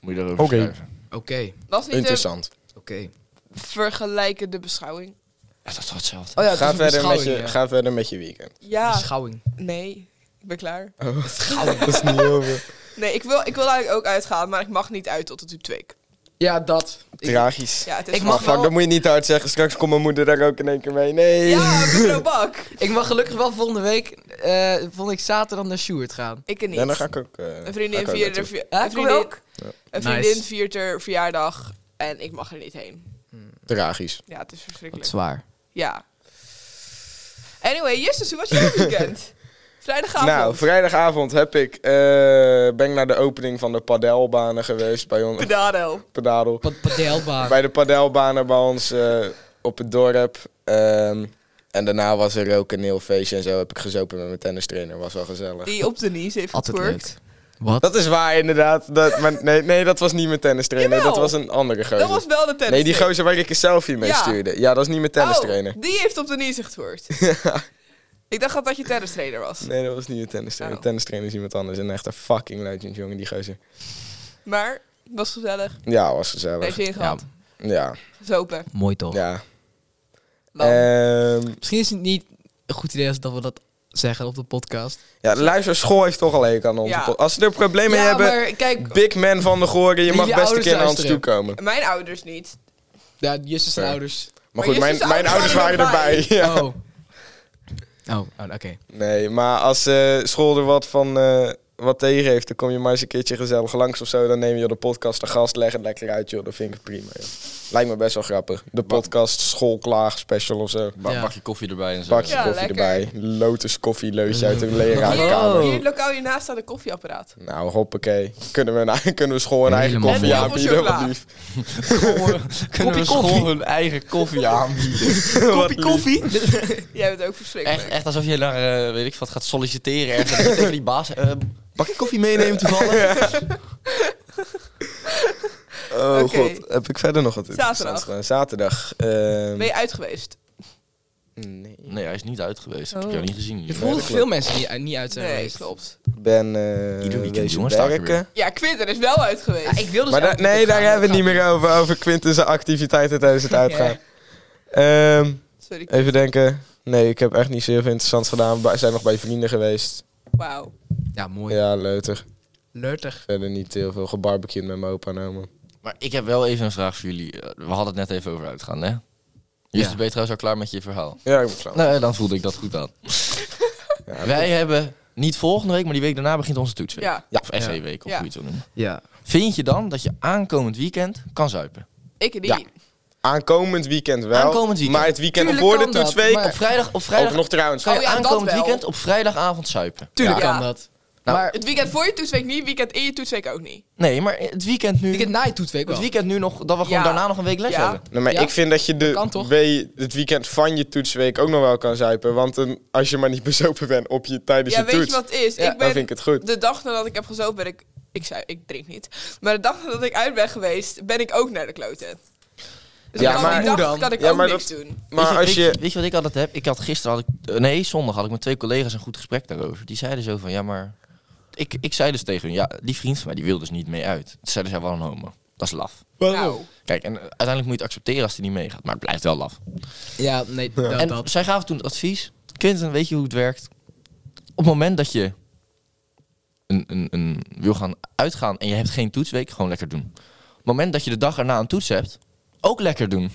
Speaker 4: moet je daarover
Speaker 2: Oké.
Speaker 4: schrijven.
Speaker 3: Oké.
Speaker 1: Was niet de
Speaker 2: Interessant.
Speaker 3: Oké.
Speaker 1: vergelijkende beschouwing.
Speaker 4: Ja, dat is wel hetzelfde.
Speaker 3: Oh ja, het is
Speaker 2: ga,
Speaker 3: een
Speaker 2: verder met je,
Speaker 3: beschouwing, ja.
Speaker 2: ga verder met je weekend.
Speaker 1: Ja,
Speaker 3: Beschouwing.
Speaker 1: nee. Ik ben klaar.
Speaker 2: Dat is niet heel veel.
Speaker 1: Nee, ik wil, ik wil eigenlijk ook uitgaan, maar ik mag niet uit tot de toetweek.
Speaker 3: Ja, dat. Ik-
Speaker 2: Tragisch.
Speaker 1: Ja, het is
Speaker 3: Ik
Speaker 1: wel-
Speaker 3: mag
Speaker 2: Oh, fuck, dat moet je niet te hard zeggen. Straks komt mijn moeder daar ook in één keer mee. Nee.
Speaker 1: Ja, Bruno Bak.
Speaker 3: Ik mag gelukkig wel volgende week, eh volgende week zaterdag naar Sjoerd gaan.
Speaker 1: Ik er niet.
Speaker 2: Ja, dan ga ik ook. eh,
Speaker 1: Een
Speaker 2: ga
Speaker 1: vriendin
Speaker 2: ik ook
Speaker 1: viert er
Speaker 2: naartoe.
Speaker 1: vi-
Speaker 3: Ja,
Speaker 1: een
Speaker 3: kom
Speaker 1: vriendin,
Speaker 3: ook.
Speaker 1: een
Speaker 3: Nice.
Speaker 1: vriendin viert er verjaardag en ik mag er niet heen.
Speaker 2: Tragisch.
Speaker 1: Ja, het is
Speaker 3: Wat
Speaker 1: verschrikkelijk.
Speaker 3: zwaar.
Speaker 1: Ja. Anyway, Justus, hoe was je weekend? Vrijdagavond.
Speaker 2: Nou, vrijdagavond heb ik, eh, ben ik naar de opening van de padelbanen geweest bij ons.
Speaker 1: Pedado.
Speaker 2: Padel.
Speaker 3: Wat padelbaan.
Speaker 2: Bij de padelbanen bij ons eh, op het dorp. Ehm, en daarna was er ook een heel feestje en zo heb ik gezopen met mijn tennistrainer. Was wel gezellig.
Speaker 1: Die op de Denise heeft
Speaker 3: Altijd
Speaker 1: getwerkt.
Speaker 3: leuk. Wat?
Speaker 2: Dat is waar, inderdaad. Dat, maar nee, nee, dat was niet mijn tennistrainer.
Speaker 1: Jawel.
Speaker 2: Dat was een andere gozer.
Speaker 1: Dat was wel de tennis.
Speaker 2: nee, die gozer waar ik een selfie mee
Speaker 1: Ja.
Speaker 2: stuurde. Ja, dat is niet mijn tennistrainer.
Speaker 1: Oh, die heeft op de Denise getwerkt. Ik dacht dat dat je tennistrainer was.
Speaker 2: Nee, dat was niet mijn tennistrainer.
Speaker 1: Oh.
Speaker 2: Tennistrainer is iemand anders. En echt een fucking legend, jongen, die gozer.
Speaker 1: Maar het was gezellig.
Speaker 2: Ja, was
Speaker 1: Heeft
Speaker 2: gezellig.
Speaker 1: je ingehad.
Speaker 2: Ja,
Speaker 1: Zopen.
Speaker 3: Mooi toch?
Speaker 2: ja.
Speaker 1: Lam.
Speaker 2: Ehm,
Speaker 3: Misschien is het niet een goed idee als dat we dat zeggen op de podcast.
Speaker 2: ja, luister, school heeft toch al een aan onze
Speaker 1: Ja.
Speaker 2: pod- Als ze er problemen mee
Speaker 3: ja,
Speaker 2: hebben,
Speaker 3: maar kijk...
Speaker 2: Big Man van de Goren, je
Speaker 3: Die-
Speaker 2: mag
Speaker 3: die
Speaker 2: best een
Speaker 3: ouders
Speaker 2: keer naar ons toe
Speaker 3: luisteren.
Speaker 2: komen.
Speaker 1: Mijn ouders niet.
Speaker 3: Ja, Justus zijn
Speaker 2: Ja.
Speaker 3: ouders.
Speaker 2: Maar
Speaker 1: Maar
Speaker 2: goed,
Speaker 1: je
Speaker 2: mijn,
Speaker 1: zus-
Speaker 2: mijn ouders waren erbij. Ja.
Speaker 3: Oh. Oh, oh, oké.
Speaker 2: Nee, maar als eh, school er wat van eh, wat tegen heeft, dan kom je maar eens een keertje gezellig langs of zo. Dan neem je de podcast de gast, leg het lekker uit, joh. Dat vind ik prima, joh. Lijkt me best wel grappig. De podcast schoolklaag special of zo.
Speaker 4: Ba-
Speaker 3: Ja.
Speaker 4: Pak je koffie erbij en zo.
Speaker 2: Bakje
Speaker 1: Ja,
Speaker 2: koffie
Speaker 1: lekker.
Speaker 2: erbij. Lotus koffie, leusje uit een
Speaker 1: Hier,
Speaker 2: lerarenkamer.
Speaker 1: hier in het lokaal hiernaast staat een koffieapparaat.
Speaker 2: Nou, hoppie. Kunnen we, na- kunnen we school een eigen
Speaker 3: Helemaal
Speaker 2: koffie
Speaker 1: En heel veel
Speaker 2: aanbieden? Wat
Speaker 1: chocola.
Speaker 2: lief.
Speaker 4: Kunnen we
Speaker 3: Kopje
Speaker 4: school
Speaker 3: koffie.
Speaker 4: hun eigen koffie aanbieden?
Speaker 2: Wat lief.
Speaker 1: Jij bent ook verschrikkelijk.
Speaker 4: Echt, echt alsof je naar, eh, weet ik wat, gaat solliciteren ergens. en tegen die baas, eh, pak je koffie meenemen toevallig?
Speaker 2: Oh
Speaker 1: Oké.
Speaker 2: god, heb ik verder nog wat interessants
Speaker 1: Zaterdag.
Speaker 2: gedaan? Zaterdag. ehm,
Speaker 1: Ben je uit geweest?
Speaker 2: nee.
Speaker 4: Nee, hij is niet uit geweest. Ik heb
Speaker 1: Oh.
Speaker 4: jou niet gezien.
Speaker 3: Je
Speaker 4: hier.
Speaker 3: voelt
Speaker 2: dat
Speaker 3: veel
Speaker 2: klopt.
Speaker 3: mensen die eh, niet uit zijn
Speaker 1: Nee,
Speaker 3: geweest.
Speaker 1: klopt.
Speaker 2: Ik ben eh
Speaker 4: Ieder weekend,
Speaker 2: wezen
Speaker 4: jongens, staat er weer.
Speaker 1: Ja, Quinten is wel uit
Speaker 3: Ja,
Speaker 1: geweest.
Speaker 3: ik wilde
Speaker 2: Maar
Speaker 3: zelf
Speaker 2: daar- nee,
Speaker 3: opgaan,
Speaker 2: daar hebben we
Speaker 3: maar
Speaker 2: het niet meer over. Over Quinten zijn activiteiten tijdens het uitgaan. Ehm,
Speaker 1: Sorry.
Speaker 2: even denken. Nee, ik heb echt niet zo heel veel interessants gedaan. We zijn nog bij vrienden geweest.
Speaker 1: Wauw.
Speaker 3: Ja, mooi.
Speaker 2: Ja, leuter.
Speaker 3: Leutig.
Speaker 2: Verder niet heel veel gebarbecued met mijn opa en oma.
Speaker 4: Maar ik heb wel even een vraag voor jullie. Eh, We hadden het net even over uitgaan, hè?
Speaker 3: Ja.
Speaker 4: Justus, ben je trouwens al klaar met je verhaal?
Speaker 2: Ja, ik ben klaar.
Speaker 4: Nou, eh, dan voelde ik dat goed aan.
Speaker 2: Ja,
Speaker 4: Wij hebben niet volgende week, maar die week daarna begint onze toetsweek.
Speaker 1: Ja.
Speaker 4: Of SE-week, of
Speaker 1: Ja.
Speaker 4: hoe je het wil noemen.
Speaker 3: Ja.
Speaker 4: Vind je dan dat je aankomend weekend kan zuipen?
Speaker 1: Ik niet.
Speaker 2: Ja. Aankomend weekend wel.
Speaker 4: Aankomend weekend.
Speaker 2: Maar het weekend
Speaker 3: Tuurlijk
Speaker 2: voor de
Speaker 3: kan dat,
Speaker 2: toetsweek.
Speaker 3: maar-
Speaker 4: Op vrijdag, op vrijdag
Speaker 2: Ook nog trouwens.
Speaker 4: kan je
Speaker 1: Oh ja, dat
Speaker 4: aankomend
Speaker 1: wel.
Speaker 4: weekend op vrijdagavond zuipen.
Speaker 3: Tuurlijk
Speaker 1: Ja.
Speaker 3: kan dat.
Speaker 4: Nou,
Speaker 3: maar
Speaker 1: Het weekend voor je toetsweek niet, weekend in je toetsweek ook niet.
Speaker 4: Nee, maar het weekend nu...
Speaker 3: ik heb na je toetweek wel.
Speaker 4: het weekend nu nog, dat we gewoon
Speaker 1: Ja.
Speaker 4: daarna nog een week les
Speaker 1: Ja.
Speaker 4: hebben.
Speaker 2: Nee, maar
Speaker 3: Ja?
Speaker 2: ik vind dat je de
Speaker 3: Kan toch?
Speaker 2: wee- het weekend van je toetsweek ook nog wel kan zuipen. Want een, als je maar niet bezopen bent op je, tijdens
Speaker 1: ja,
Speaker 2: Dus je
Speaker 1: weet
Speaker 2: toets,
Speaker 1: je wat het is?
Speaker 3: Ja.
Speaker 2: dan
Speaker 1: ik ben
Speaker 2: vind ik het goed.
Speaker 1: de dag nadat ik heb gezopen, ben ik... Ik, zei, ik drink niet. Maar de dag nadat ik uit ben geweest, ben ik ook naar de kloten. Dus
Speaker 2: Ja,
Speaker 1: ja,
Speaker 2: maar-
Speaker 1: maar, die
Speaker 3: Hoe
Speaker 1: dag
Speaker 3: dan?
Speaker 1: kan ik
Speaker 2: Ja,
Speaker 1: ook
Speaker 2: maar
Speaker 1: niks doen.
Speaker 4: weet
Speaker 2: Maar
Speaker 4: je,
Speaker 2: als
Speaker 4: weet,
Speaker 2: je...
Speaker 4: weet je wat ik altijd heb? Ik had gisteren, had ik, eh, nee, zondag had ik met twee collega's een goed gesprek daarover. Die zeiden zo van, ja, maar... Ik, ik zei dus tegen hun, ja, die vriend van mij, die wil dus niet mee uit. Toen zeiden ze, ja, wat een homo. Dat is laf.
Speaker 1: Nou,
Speaker 4: Kijk, en eh, uiteindelijk moet je het accepteren als hij niet meegaat. Maar het blijft wel laf.
Speaker 3: Ja, nee, dat.
Speaker 4: en
Speaker 3: dat.
Speaker 4: zij gaven toen het advies. Quinten, weet je hoe het werkt? het moment dat je een, een, een wil gaan uitgaan en je hebt geen toetsweek, gewoon lekker doen. Op het moment dat je de dag erna een toets hebt, ook lekker doen.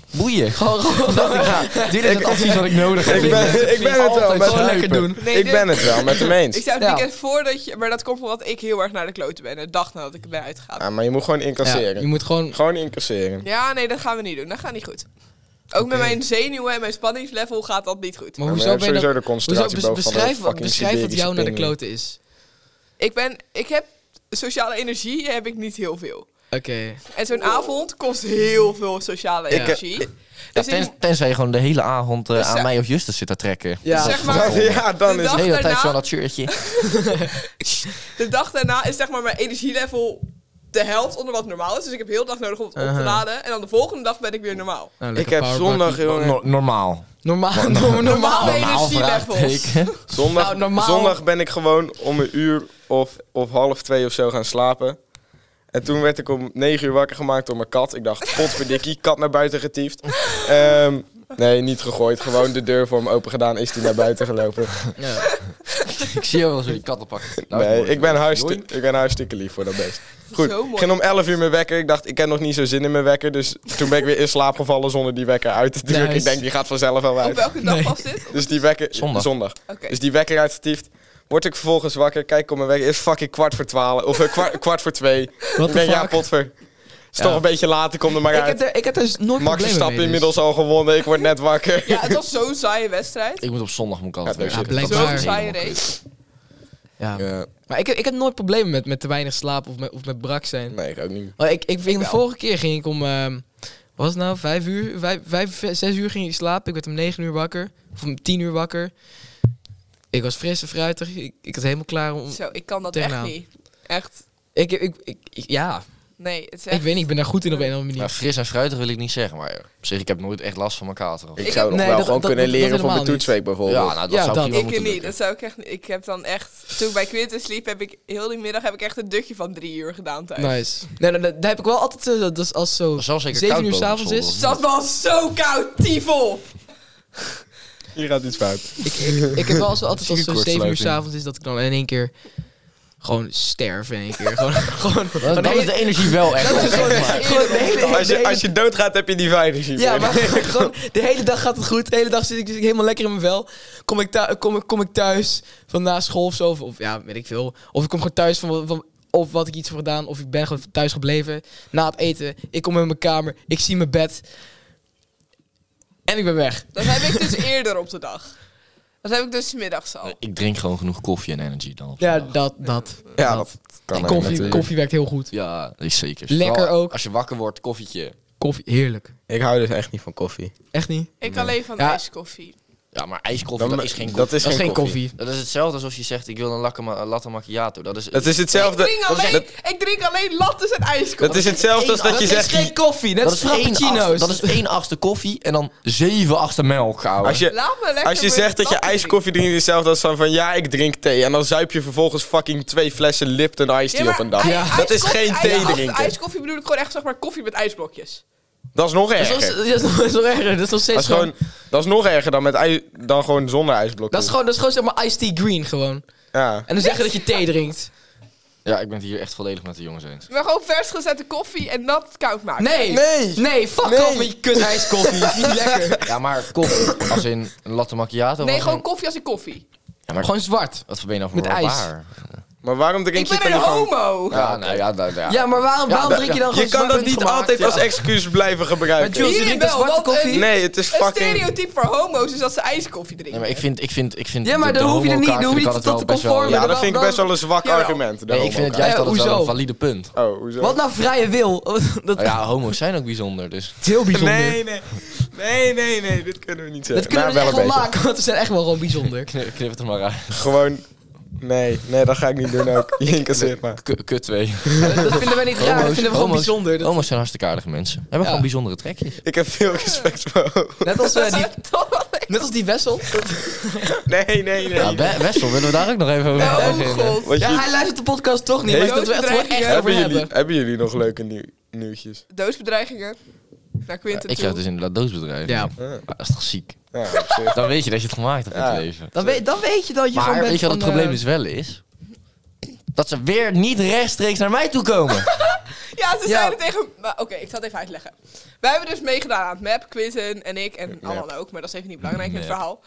Speaker 4: Boeien. Gewoon,
Speaker 3: Oh,
Speaker 4: gewoon dat ik ga. Dit is het advies wat ik nodig heb.
Speaker 2: Ik ben, ik ben het wel
Speaker 4: Altijd
Speaker 2: met
Speaker 4: gewoon
Speaker 3: lekker
Speaker 2: Huipen.
Speaker 3: doen.
Speaker 1: Nee,
Speaker 2: ik
Speaker 1: dit-
Speaker 2: ben het wel met hem eens.
Speaker 1: Ik zou het
Speaker 3: Ja.
Speaker 1: weekend voordat je... Maar dat komt omdat ik heel erg naar de kloten ben. De dag nadat ik ben uitgegaan.
Speaker 2: Ah, maar je moet gewoon
Speaker 3: Ja,
Speaker 2: incasseren.
Speaker 3: je moet gewoon...
Speaker 2: Gewoon incasseren.
Speaker 1: Ja, nee, dat gaan we niet doen. Dat gaat niet goed. Ook met mijn zenuwen en mijn spanningslevel gaat dat niet goed.
Speaker 2: Maar
Speaker 3: Maar
Speaker 2: je
Speaker 3: hoezo
Speaker 2: hebt
Speaker 3: ben je
Speaker 2: sowieso
Speaker 3: dan...
Speaker 2: de
Speaker 3: Hoezo,
Speaker 2: concentratie
Speaker 3: bes-
Speaker 2: boven van
Speaker 3: beschrijf,
Speaker 2: de
Speaker 3: wat,
Speaker 2: fucking
Speaker 3: beschrijf wat jou naar de
Speaker 2: Siberische
Speaker 3: kloten is.
Speaker 1: Ik ben... Ik heb... Sociale energie heb ik niet heel veel.
Speaker 3: Oké.
Speaker 1: En zo'n avond kost heel veel sociale
Speaker 2: Ik, eh,
Speaker 1: energie.
Speaker 4: Ja,
Speaker 1: dus in-
Speaker 4: ten- tenzij je gewoon de hele avond eh,
Speaker 1: Dus
Speaker 4: aan
Speaker 1: ze-
Speaker 4: mij of Justus zit te trekken.
Speaker 3: Ja.
Speaker 4: Dat is
Speaker 1: Zeg maar-
Speaker 4: gewoon-
Speaker 2: pinguïns. Ja, dan
Speaker 1: De
Speaker 2: is
Speaker 1: dag-
Speaker 4: de hele tijd
Speaker 1: daarna-
Speaker 4: zo dat shirtje.
Speaker 1: de dag daarna is zeg maar mijn energielevel de helft onder wat normaal is. Dus ik heb heel de dag nodig om het op te
Speaker 3: Uh-huh.
Speaker 1: laden. En dan de volgende dag ben ik weer normaal.
Speaker 3: Nou,
Speaker 2: Ik
Speaker 3: lekker
Speaker 2: heb
Speaker 3: powerbank.
Speaker 2: zondag, jongen.
Speaker 4: No- normaal.
Speaker 3: Normaal, normaal,
Speaker 1: Normaal.
Speaker 3: normaal.
Speaker 4: Normaal
Speaker 1: energielevels.
Speaker 4: vraagteken.
Speaker 2: Zondag,
Speaker 3: Nou, normaal-
Speaker 2: zondag ben ik gewoon om een uur of, of half twee of zo gaan slapen. En toen werd ik om negen uur wakker gemaakt door mijn kat. Ik dacht, potverdikkie, kat naar buiten getiefd. Ehm, nee, niet gegooid. Gewoon de deur voor hem open gedaan, is die naar buiten gelopen.
Speaker 3: Ja.
Speaker 4: Ik zie jou wel zo die katten pakken. Nou,
Speaker 2: Nee,
Speaker 4: mooi.
Speaker 2: ik ben, hartstikke,
Speaker 4: Joink.
Speaker 2: ik ben hartstikke lief voor dat beest. Goed,
Speaker 1: Zo mooi.
Speaker 2: ik ging om 11 uur mijn wekker. Ik dacht, ik heb nog niet zo zin in mijn wekker. Dus toen ben ik weer in slaap gevallen zonder die wekker uit te drukken.
Speaker 3: Nice.
Speaker 2: Ik denk, die gaat vanzelf wel
Speaker 1: Op
Speaker 2: uit.
Speaker 1: welke dag
Speaker 3: Nee.
Speaker 1: was dit?
Speaker 2: Dus die wekker...
Speaker 4: Zondag.
Speaker 2: zondag.
Speaker 1: Oké.
Speaker 2: Dus die wekker uitgetiefd. Word ik vervolgens wakker, kijk op mijn wekker. Is fucking kwart voor twaalf. Of eh, kwart, kwart voor twee.
Speaker 3: Wat
Speaker 2: ik denk, ja, potver. Is toch een beetje laat, ik kom er maar
Speaker 3: Ik heb,
Speaker 2: uit.
Speaker 3: er, ik heb er nooit
Speaker 2: Max
Speaker 3: problemen
Speaker 2: stap
Speaker 3: mee, dus.
Speaker 2: inmiddels al gewonnen. Ik word net wakker.
Speaker 1: Ja, het was zo'n saaie wedstrijd.
Speaker 4: Ik moet op zondag moet ik altijd
Speaker 2: Ja,
Speaker 4: werken.
Speaker 3: ja,
Speaker 4: Dat is
Speaker 3: blijkbaar.
Speaker 1: Zo'n
Speaker 4: helemaal
Speaker 1: saaie
Speaker 4: kut.
Speaker 1: race.
Speaker 3: Ja.
Speaker 2: Ja,
Speaker 3: Maar ik heb, ik heb nooit problemen met, met te weinig slapen of met, of met brak zijn.
Speaker 2: nee, ik ook niet.
Speaker 3: Oh, ik, ik, ging de
Speaker 1: wel.
Speaker 3: vorige keer ging ik om, ehm, wat was het nou, vijf uur, vijf, vijf, zes uur ging ik slapen. Ik werd om negen uur wakker, of om tien uur wakker. Ik was fris en fruitig, ik, ik was helemaal klaar om...
Speaker 1: Zo, ik kan dat
Speaker 3: Tegen
Speaker 1: echt
Speaker 3: nou.
Speaker 1: niet. Echt.
Speaker 3: Ik, ik, ik, ik- ja,
Speaker 1: Nee, het is echt...
Speaker 3: ik weet niet, ik ben daar goed in op een of andere
Speaker 4: Ja,
Speaker 3: manier.
Speaker 4: Nou, fris en fruitig wil ik niet zeggen, maar op zich, ik heb nooit echt last van mijn kater.
Speaker 2: Ik,
Speaker 1: Ik
Speaker 2: zou
Speaker 1: heb-
Speaker 2: nog
Speaker 3: nee,
Speaker 2: wel
Speaker 3: dat-
Speaker 2: gewoon
Speaker 3: dat-
Speaker 2: kunnen
Speaker 3: dat-
Speaker 2: leren
Speaker 3: dat
Speaker 2: van mijn
Speaker 3: helemaal
Speaker 2: toetsweek bijvoorbeeld.
Speaker 4: Ja, nou, dat
Speaker 3: Ja,
Speaker 4: zou
Speaker 3: dat.
Speaker 4: prima
Speaker 1: Ik
Speaker 4: moeten
Speaker 1: niet,
Speaker 4: lukken.
Speaker 1: dat zou ik echt niet. Ik heb dan echt, toen ik bij Quinten sliep, heb ik heel die middag heb ik echt een dutje van drie uur gedaan thuis.
Speaker 3: Nice. Nee, nee, nee, daar heb ik wel altijd, eh, dat is als zo
Speaker 4: Dat zal zeker
Speaker 3: zeven
Speaker 4: koud
Speaker 3: uur
Speaker 4: boven op
Speaker 3: s'avonds
Speaker 4: zolder.
Speaker 3: is.
Speaker 1: Dus Dat was zo koud, tyfel!
Speaker 2: Hier gaat iets fout.
Speaker 3: ik, ik, ik heb wel zo, altijd als het zo 7 uur
Speaker 4: Zieke kortsluiting.
Speaker 3: s'avonds is dat ik dan in één keer gewoon sterf in één keer. Gewoon, gewoon,
Speaker 4: Dan,
Speaker 3: gewoon de
Speaker 4: is
Speaker 3: hele-
Speaker 4: de energie wel echt.
Speaker 3: dat is gewoon- gewoon de hele-
Speaker 2: Als
Speaker 3: de
Speaker 2: je,
Speaker 3: hele-
Speaker 2: als je doodgaat, heb je die vijf
Speaker 3: Ja, maar gewoon de hele dag gaat het goed. De hele dag zit ik zit ik helemaal lekker in mijn vel. Kom ik, thui- kom, ik- kom ik thuis van na school of zo, of, of ja, weet ik veel. Of ik kom gewoon thuis van, wa- van of wat ik iets heb gedaan, of ik ben gewoon thuis gebleven. Na het eten, ik kom in mijn kamer, ik zie mijn bed. En ik ben weg.
Speaker 1: Dat heb ik dus eerder op de dag. Dat heb ik dus 's middags al.
Speaker 4: Ik drink gewoon genoeg koffie en energy dan. op
Speaker 3: Ja,
Speaker 4: zondag.
Speaker 3: dat, dat.
Speaker 2: Ja, dat kan
Speaker 3: En
Speaker 2: ook
Speaker 3: koffie,
Speaker 2: natuurlijk.
Speaker 3: koffie werkt heel goed.
Speaker 4: ja dat is zeker.
Speaker 3: Lekker
Speaker 4: Vooral
Speaker 3: ook.
Speaker 4: Als je wakker wordt, koffietje.
Speaker 3: Koffie, heerlijk.
Speaker 2: Ik hou dus echt niet van koffie.
Speaker 3: Echt niet?
Speaker 1: Ik alleen van
Speaker 3: Ja.
Speaker 1: ijskoffie.
Speaker 4: Ja, maar ijskoffie,
Speaker 2: Dan-
Speaker 4: dat is geen koffie.
Speaker 2: dat is
Speaker 3: Dat is
Speaker 2: geen
Speaker 3: geen
Speaker 2: koffie.
Speaker 3: koffie.
Speaker 4: Dat is hetzelfde alsof je zegt, ik wil een lakke ma- een latte macchiato. Dat is,
Speaker 2: Dat is
Speaker 1: Ik
Speaker 2: hetzelfde.
Speaker 1: drink, alleen, ik drink alleen lattes en ijskoffie.
Speaker 2: Dat is hetzelfde als dat je
Speaker 3: is
Speaker 2: zegt.
Speaker 3: geen koffie, net
Speaker 4: dat
Speaker 3: als
Speaker 4: is één achtste,
Speaker 3: frappuccino's.
Speaker 4: dat is één achtste koffie en dan zeven achtste melk, ouwe.
Speaker 2: Als je,
Speaker 1: Laat me lekker
Speaker 2: als je
Speaker 1: met
Speaker 2: zegt dat je
Speaker 1: latte
Speaker 2: ijskoffie drinkt, is hetzelfde als van, van ja, ik drink thee. En dan zuip je vervolgens fucking twee flessen Lipton
Speaker 1: drinken.
Speaker 2: Ice Tea
Speaker 1: Ja,
Speaker 2: op een
Speaker 1: maar
Speaker 2: dag.
Speaker 1: ij-
Speaker 3: Ja.
Speaker 2: Dat is
Speaker 1: ijskoffie-
Speaker 2: geen thee
Speaker 1: ijs-
Speaker 2: drinken.
Speaker 1: Ijskoffie bedoel ik gewoon echt zeg maar koffie met ijsblokjes.
Speaker 2: Dat is nog
Speaker 3: Dat is,
Speaker 2: erger.
Speaker 3: nog- dat is nog- dat is nog erger. Dat is nog
Speaker 2: Dat
Speaker 3: steeds
Speaker 2: is, gewoon, dat is nog erger dan, met ij- dan gewoon zonder ijsblokjes.
Speaker 3: Dat is gewoon, dat is gewoon zeg maar iced tea green gewoon.
Speaker 2: Ja.
Speaker 3: En dan zeggen dat je thee drinkt.
Speaker 4: Ja, ik ben het hier echt volledig met de jongens eens.
Speaker 1: Maar gewoon vers gezette koffie en nat koud maken.
Speaker 3: Nee!
Speaker 2: Nee.
Speaker 3: Nee, fuck
Speaker 2: Nee.
Speaker 3: off met je kut ijskoffie. Dat is niet lekker.
Speaker 4: Ja, maar koffie, als in een latte macchiato.
Speaker 1: Nee,
Speaker 4: was
Speaker 1: gewoon
Speaker 4: een-
Speaker 1: koffie als een koffie.
Speaker 4: Ja, maar
Speaker 3: Gewoon zwart.
Speaker 4: Wat voor ben je nou voor
Speaker 3: Met
Speaker 4: een
Speaker 3: ijs.
Speaker 4: barbaar?
Speaker 2: Maar waarom
Speaker 1: Ik
Speaker 2: drink je
Speaker 1: ben
Speaker 2: dan
Speaker 1: een
Speaker 2: niet gewoon...
Speaker 1: homo.
Speaker 4: Ja, nou ja, da- da-
Speaker 3: Ja, maar waarom, waarom
Speaker 4: Ja,
Speaker 3: drink je dan
Speaker 2: Je
Speaker 3: gewoon
Speaker 2: kan
Speaker 3: zwart
Speaker 2: dat
Speaker 3: met
Speaker 2: niet
Speaker 3: gemaakt?
Speaker 2: altijd
Speaker 3: Ja.
Speaker 2: als excuus blijven
Speaker 3: Maar Jules,
Speaker 2: gebruiken.
Speaker 3: je
Speaker 1: Hierin
Speaker 3: drinkt een
Speaker 1: wel,
Speaker 3: zwarte
Speaker 1: want
Speaker 3: koffie?
Speaker 1: een-
Speaker 2: Nee, het is
Speaker 1: Een
Speaker 2: fucking...
Speaker 1: stereotype voor homo's is dat ze ijskoffie drinken.
Speaker 4: Nee, maar ik vind, ik vind, ik vind
Speaker 3: Ja, maar dan hoef je er niet-
Speaker 4: homo-kaart
Speaker 3: dan hoef je
Speaker 4: vind
Speaker 3: niet
Speaker 4: ik altijd
Speaker 3: tot
Speaker 4: wel
Speaker 3: te
Speaker 4: best wel-
Speaker 3: conformen.
Speaker 2: Ja,
Speaker 4: Ja,
Speaker 2: dat vind ik
Speaker 3: dan-
Speaker 2: best wel een zwak
Speaker 1: Jawel.
Speaker 2: argument.
Speaker 4: nee, ik vind het juist
Speaker 3: Ja,
Speaker 4: altijd wel
Speaker 3: hoezo?
Speaker 4: een valide punt.
Speaker 2: Oh, hoezo?
Speaker 3: Wat nou vrije wil? Dat
Speaker 4: Nou ja, homo's zijn ook bijzonder, dus...
Speaker 3: is heel bijzonder.
Speaker 2: Nee, nee. Nee, nee, nee. Dit kunnen we niet
Speaker 3: Dat
Speaker 2: zeggen.
Speaker 3: kunnen we
Speaker 2: Nou,
Speaker 3: dus echt wel
Speaker 2: een beetje.
Speaker 3: maken, want we zijn echt wel gewoon bijzonder.
Speaker 4: Knip, knip het er maar uit.
Speaker 2: Gewoon... Nee, nee, dat ga ik niet doen ook. Je incasseert maar.
Speaker 4: K- Kut twee.
Speaker 3: dat vinden wij niet raar, dat vinden we gewoon
Speaker 4: homo's-
Speaker 3: bijzonder. Dat-
Speaker 4: Homo's zijn hartstikke aardige mensen. Hebben
Speaker 3: Ja.
Speaker 4: gewoon bijzondere trekjes.
Speaker 2: Ik heb veel respect voor...
Speaker 3: Net als, eh, die,
Speaker 1: Toch?
Speaker 3: net als die Wessel.
Speaker 2: Nee, nee, nee.
Speaker 4: Ja, We- Wessel, willen we daar ook nog even over
Speaker 1: Oh
Speaker 4: beginnen?
Speaker 1: god.
Speaker 2: Wat
Speaker 3: Ja,
Speaker 2: jullie-
Speaker 3: hij luistert de podcast toch niet, maar
Speaker 2: Heeft-
Speaker 3: dat we het wel echt over
Speaker 2: hebben,
Speaker 3: hebben.
Speaker 2: jullie, hebben jullie nog leuke nieuw- nieuwtjes?
Speaker 1: Doodsbedreigingen. Naar Quinten
Speaker 4: Ik
Speaker 1: toe.
Speaker 4: krijg dus inderdaad doosbedrijven.
Speaker 3: Ja.
Speaker 4: Maar Dat is toch ziek?
Speaker 2: Ja, op zich.
Speaker 4: Dan weet je dat je het gemaakt hebt in
Speaker 2: Ja.
Speaker 4: het leven.
Speaker 3: Dan weet, dan weet je dat je gewoon
Speaker 4: maar
Speaker 3: bent
Speaker 4: weet je wat
Speaker 3: van,
Speaker 4: het probleem
Speaker 3: eh,
Speaker 4: dus wel is? Dat ze weer niet rechtstreeks naar mij toe komen.
Speaker 1: Ja, ze
Speaker 3: Ja.
Speaker 1: zeiden tegen... maar Oké, ik zal het even uitleggen. Wij hebben dus meegedaan aan het map, Quinten en ik en Alan ook. Maar dat is even niet belangrijk in het
Speaker 4: Map.
Speaker 1: verhaal.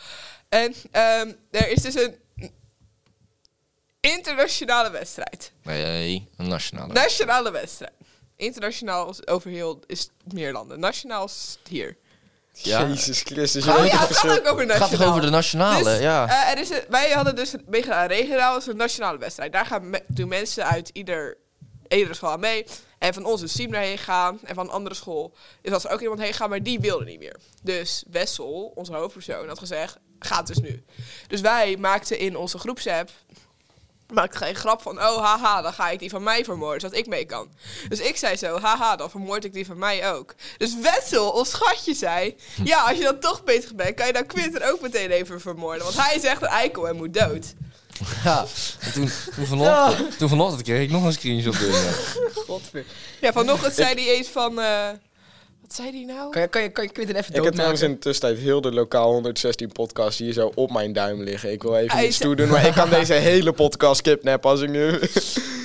Speaker 1: En ehm, er is dus een internationale wedstrijd.
Speaker 4: Nee, een nationale.
Speaker 1: Nationale wedstrijd. Internationaal is over heel is meer landen. Nationaal is hier.
Speaker 4: Ja.
Speaker 2: Jezus Christus, je
Speaker 1: Oh
Speaker 2: weet
Speaker 1: ja,
Speaker 2: het
Speaker 1: het gaat
Speaker 2: verschil.
Speaker 1: ook over
Speaker 4: Het gaat
Speaker 1: nationaal.
Speaker 4: toch over de nationale,
Speaker 1: Dus,
Speaker 4: ja.
Speaker 1: eh, er is een- wij hadden dus meegedaan aan regionaal, dat is een nationale wedstrijd. Daar gaan me- doen mensen uit ieder, iedere school aan mee. En van ons is Siem daarheen gegaan. En van een andere school is als er ook iemand heen gegaan, maar die wilde niet meer. Dus Wessel, onze hoofdpersoon, had gezegd, gaat dus nu. Dus wij maakten in onze groepsapp maakte geen grap van, oh haha, dan ga ik die van mij vermoorden, zodat ik mee kan. Dus ik zei zo, haha, dan vermoord ik die van mij ook. Dus Wessel, ons schatje, zei, ja, als je dan toch bezig bent, kan je dan Quinten ook meteen even vermoorden. Want hij is echt een eikel en moet dood.
Speaker 4: ja. En toen, toen, vanochtend, toen vanochtend kreeg ik nog een screenshot binnen.
Speaker 3: eh,
Speaker 1: Ja, vanochtend zei hij eens van, eh, wat zei hij nou?
Speaker 3: Kan je, kan je, kan je Quinten even
Speaker 2: Ik heb
Speaker 3: doodmaken?
Speaker 2: trouwens in de tussentijd heel de lokaal 116 podcast hier zo op mijn duim liggen. Ik wil even
Speaker 1: Hij
Speaker 2: iets
Speaker 1: is-
Speaker 2: toedoen, maar ik kan deze hele podcast kidnappen als ik nu...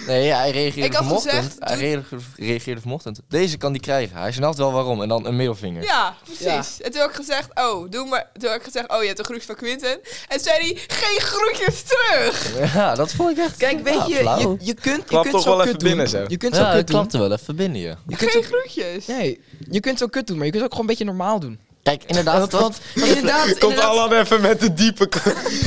Speaker 4: Nee, ja, hij reageerde
Speaker 1: Ik had
Speaker 4: vanochtend.
Speaker 1: gezegd,
Speaker 4: hij reageerde, reageerde vanochtend. Deze kan die krijgen. Hij snapt wel waarom. En dan een middelvinger.
Speaker 1: Ja, precies. En toen heb ik gezegd, oh, doe maar. Toen heb ik gezegd, oh, je hebt een groetje van Quinten. En zei hij, geen groetjes terug!
Speaker 4: Ja, dat vond ik echt.
Speaker 3: Kijk, weet
Speaker 4: ja,
Speaker 3: je,
Speaker 4: flauw.
Speaker 3: je, je kunt, je
Speaker 2: Klap
Speaker 3: kunt
Speaker 2: toch
Speaker 3: zo
Speaker 2: wel
Speaker 3: kut
Speaker 2: even
Speaker 3: doen.
Speaker 2: binnen, zeg.
Speaker 3: Je kunt zo
Speaker 4: Ja, het
Speaker 3: kut doen.
Speaker 4: klapte wel even binnen je.
Speaker 3: Je kunt zo,
Speaker 1: Geen groetjes!
Speaker 3: nee, je kunt zo kut doen, maar je kunt ook gewoon een beetje normaal doen.
Speaker 4: Kijk, inderdaad.
Speaker 3: Want-
Speaker 4: Want,
Speaker 3: Inderdaad,
Speaker 2: Komt
Speaker 3: inderdaad.
Speaker 2: Alan even met de diepe... k-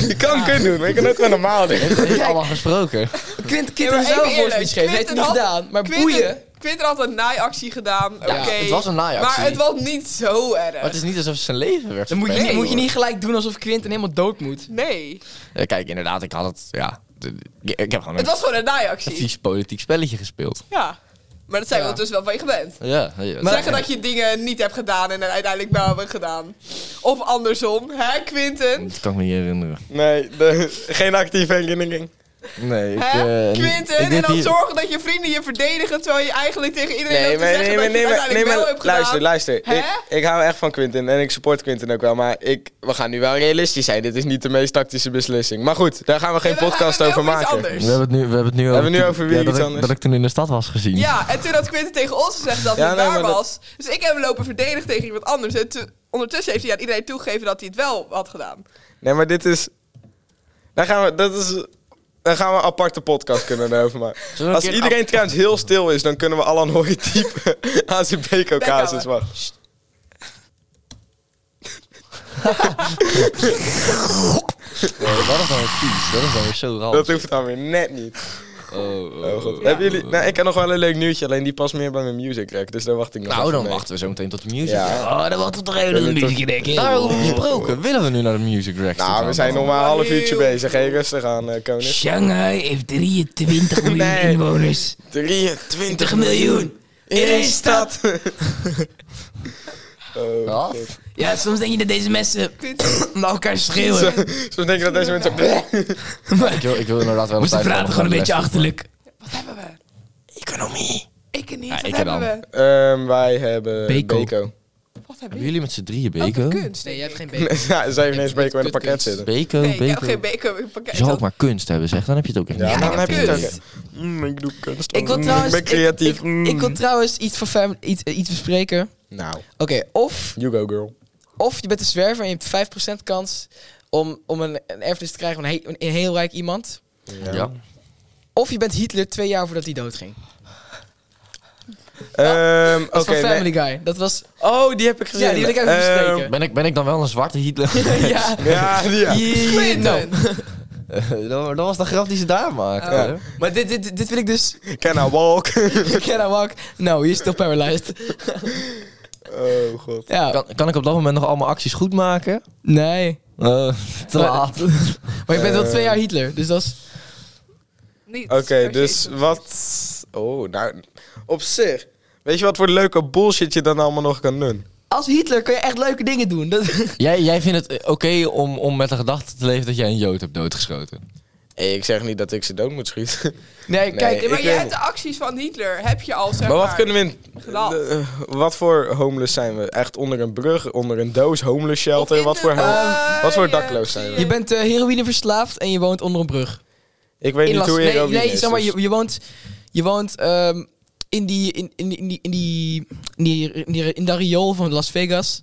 Speaker 2: Je kan kunnen doen, maar je kan het wel normaal doen.
Speaker 4: heeft allemaal gesproken.
Speaker 3: Quint,
Speaker 1: Ja,
Speaker 3: Quinten
Speaker 1: maar even
Speaker 3: zelf
Speaker 1: eerlijk,
Speaker 3: voorspeech geven, heeft hij niet
Speaker 1: Quinten had-
Speaker 3: gedaan. Maar
Speaker 1: Quinten-
Speaker 3: boeien.
Speaker 1: Quinten had een naaiactie gedaan. Oké.
Speaker 4: Ja, het was een naaiactie.
Speaker 1: Maar het was niet zo erg.
Speaker 4: Maar het is niet alsof zijn leven werd
Speaker 3: Dan moet je,
Speaker 4: verpest,
Speaker 3: niet, moet je
Speaker 4: hoor.
Speaker 3: niet gelijk doen alsof Quinten helemaal dood moet.
Speaker 1: Nee.
Speaker 4: Ja, Eh, kijk, inderdaad, ik had het. Ja, de- ik, ik heb gewoon
Speaker 1: Het
Speaker 4: een,
Speaker 1: was gewoon een
Speaker 4: een
Speaker 1: naaiactie.
Speaker 4: vies politiek spelletje gespeeld.
Speaker 1: Ja. Maar dat zijn
Speaker 3: Ja.
Speaker 1: we ondertussen wel van je gewend.
Speaker 4: Ja,
Speaker 1: Zeggen dat je dingen niet hebt gedaan en dan uiteindelijk wel hebben gedaan. Of andersom, hè, Quinten?
Speaker 4: Dat kan ik me niet herinneren.
Speaker 2: Nee, de- geen actieve herinnering.
Speaker 4: Nee, ik.
Speaker 1: Hè?
Speaker 4: eh, niet-
Speaker 1: Quinten?
Speaker 4: ik
Speaker 1: en
Speaker 4: deed
Speaker 1: dan
Speaker 4: hier-
Speaker 1: zorgen dat je vrienden je verdedigen terwijl je eigenlijk tegen iedereen
Speaker 2: Nee,
Speaker 1: loopt te
Speaker 2: maar,
Speaker 1: zeggen
Speaker 2: nee, maar,
Speaker 1: dat
Speaker 2: nee,
Speaker 1: je het
Speaker 2: maar, nee,
Speaker 1: uiteindelijk
Speaker 2: maar
Speaker 1: wel hebt gedaan.
Speaker 2: luister, luister.
Speaker 1: Hè?
Speaker 2: Ik, ik hou echt van Quinten en ik support Quinten ook wel. Maar ik, we gaan nu wel realistisch zijn. Dit is niet de meest tactische beslissing. Maar goed, daar gaan we geen
Speaker 1: Ja, we gaan
Speaker 2: podcast
Speaker 1: het
Speaker 2: over
Speaker 1: over iets
Speaker 2: maken.
Speaker 4: We
Speaker 1: anders.
Speaker 4: hebben het nu, we hebben het nu over,
Speaker 2: hebben het nu over weer
Speaker 4: ja, dat
Speaker 2: iets
Speaker 4: ik-
Speaker 2: anders.
Speaker 4: Dat ik toen in de stad was gezien.
Speaker 1: Ja, en toen had Quinten tegen ons gezegd dat
Speaker 2: Ja,
Speaker 1: het
Speaker 2: nee,
Speaker 1: waar
Speaker 2: maar dat-
Speaker 1: was. Dus ik heb hem lopen verdedigen tegen iemand anders. En toen- ondertussen heeft hij aan iedereen toegegeven dat hij het wel had gedaan.
Speaker 2: Nee, maar dit is. Daar gaan we. Dat is. Daar gaan we een aparte podcast kunnen over maken.
Speaker 4: we een
Speaker 2: Als
Speaker 4: keer een
Speaker 2: iedereen trouwens heel stil is, dan kunnen we Alan horen typen aan zijn BK-casus.
Speaker 1: Bekhouden.
Speaker 2: Wacht.
Speaker 4: Nee, dat is dan weer vies. Dat is dan weer zo raar.
Speaker 2: Dat hoeft dan weer net niet.
Speaker 4: Oh, oh,
Speaker 2: Oh, god.
Speaker 4: oh.
Speaker 2: Hebben jullie... Nou, ik heb nog wel een leuk nieuwtje, alleen die past meer bij mijn music rack. Dus daar wacht ik nog
Speaker 4: Nou,
Speaker 2: even
Speaker 4: dan
Speaker 2: mee.
Speaker 4: wachten we zo meteen tot de music.
Speaker 2: Ja. Oh.
Speaker 4: Oh, dan wachten we toch even tot de music, denk ik. Daarover gesproken. Willen we nu naar de music rack?
Speaker 2: Nou, we zijn nog maar een half uurtje bezig. Hé, rustig aan, eh Koning.
Speaker 5: Shanghai heeft 23 miljoen
Speaker 2: Nee.
Speaker 5: inwoners.
Speaker 2: 23
Speaker 5: 20 miljoen.
Speaker 2: in
Speaker 5: één
Speaker 2: stad. oh,
Speaker 4: Wat?
Speaker 2: shit.
Speaker 5: Ja, soms denk je dat deze mensen
Speaker 1: Quinten,
Speaker 5: naar elkaar schreeuwen.
Speaker 2: Soms denk je dat deze mensen... Bleh.
Speaker 4: Ik wil, ik wil inderdaad wel
Speaker 5: Maar ze praten gewoon een beetje achterlijk.
Speaker 1: wat hebben we?
Speaker 5: Economie.
Speaker 1: Ik niet,
Speaker 4: Ja,
Speaker 1: wat
Speaker 4: ik
Speaker 1: hebben
Speaker 4: dan.
Speaker 1: we?
Speaker 2: Ehm, wij hebben
Speaker 5: Beko.
Speaker 2: Beko.
Speaker 1: Wat hebben
Speaker 4: Hebben
Speaker 1: jullie?
Speaker 4: jullie met z'n drieën
Speaker 1: Ook
Speaker 4: bacon?
Speaker 1: een kunst.
Speaker 3: Nee,
Speaker 1: Nee,
Speaker 3: jij hebt geen
Speaker 2: Ja,
Speaker 3: bacon.
Speaker 2: ze hebben ineens
Speaker 3: Ik- ik-
Speaker 2: Beko in een pakket
Speaker 3: kutkunst.
Speaker 2: zitten.
Speaker 4: Bacon,
Speaker 1: nee, ik heb
Speaker 4: bacon.
Speaker 1: geen bacon in mijn pakket.
Speaker 4: Je zou ook maar kunst hebben, zeg. Dan heb je het ook echt.
Speaker 2: Ja,
Speaker 4: niet.
Speaker 2: maar dan
Speaker 1: ik
Speaker 2: heb je
Speaker 1: heb
Speaker 2: het ook.
Speaker 1: kunst.
Speaker 2: hè. Mm, ik doe kunst.
Speaker 3: Ik wil
Speaker 2: Mm,
Speaker 3: trouwens,
Speaker 2: Ik ben creatief.
Speaker 3: Ik,
Speaker 2: Mm.
Speaker 3: ik, wil trouwens iets, voor fam- iets, eh, iets bespreken. Oké,
Speaker 2: Nou,
Speaker 3: of,
Speaker 2: you go girl.
Speaker 3: of je bent een zwerver en je hebt 5% kans om, om een, een erfenis te krijgen van een, he- een heel rijk iemand.
Speaker 2: Ja.
Speaker 4: Ja.
Speaker 3: Of je bent Hitler twee jaar voordat hij doodging.
Speaker 2: Ehm,
Speaker 3: Dat is
Speaker 2: Oké,
Speaker 3: van
Speaker 2: nee.
Speaker 3: Family Guy. Dat was...
Speaker 2: Oh, die heb ik gezien.
Speaker 3: Ja, die wil ik even
Speaker 2: Ehm,
Speaker 3: bespreken.
Speaker 4: Ben, ik, ben ik dan wel een zwarte Hitler?
Speaker 3: ja. Nou,
Speaker 2: Ja, die ja.
Speaker 3: Quinten.
Speaker 4: Eh, dat, dat was de grap die ze daar maakten.
Speaker 2: Ja.
Speaker 4: hè?
Speaker 3: Maar dit, dit, dit wil ik dus...
Speaker 2: Can I walk?
Speaker 3: Can I walk? No, you're still paralyzed.
Speaker 2: oh god.
Speaker 3: Ja.
Speaker 4: Kan, kan ik op dat moment nog allemaal acties goed maken?
Speaker 3: Nee.
Speaker 4: Eh, te
Speaker 3: Maar-
Speaker 4: laat.
Speaker 3: Maar je bent wel
Speaker 2: Eh.
Speaker 3: twee jaar Hitler, dus dat is...
Speaker 1: Niet
Speaker 2: Oké,
Speaker 1: per se
Speaker 2: dus
Speaker 1: zo'n-
Speaker 2: wat... Oh, nou... Op zich. Weet je wat voor leuke bullshit je dan allemaal nog kan doen?
Speaker 3: Als Hitler kan je echt leuke dingen doen. Dat...
Speaker 4: Jij, jij vindt het eh, oké om, om met de gedachte te leven dat jij een Jood hebt doodgeschoten?
Speaker 2: Hey, ik zeg niet dat ik ze dood moet schieten.
Speaker 3: Nee, kijk.
Speaker 2: Nee,
Speaker 1: maar
Speaker 2: ik
Speaker 1: jij
Speaker 2: weet
Speaker 1: hebt de acties van Hitler, heb je al, zeg Oh,
Speaker 2: maar wat kunnen we in...
Speaker 1: gedaan.
Speaker 2: de- eh, wat voor homeless zijn we? Echt onder een brug, onder een doos, homeless shelter? Wat voor, hel-
Speaker 3: Eh,
Speaker 2: wat voor dakloos zijn we?
Speaker 3: Je bent eh, heroïne verslaafd en je woont onder een brug.
Speaker 2: ik weet
Speaker 3: In
Speaker 2: niet
Speaker 3: Las-
Speaker 2: hoe je
Speaker 3: nee,
Speaker 2: heroïne
Speaker 3: nee,
Speaker 2: is,
Speaker 3: zeg maar,
Speaker 2: dus-
Speaker 3: je, je woont, je woont ehm, in, die, in, in, die- in, die, in, die, in, die, in, die- in dat riool van Las Vegas.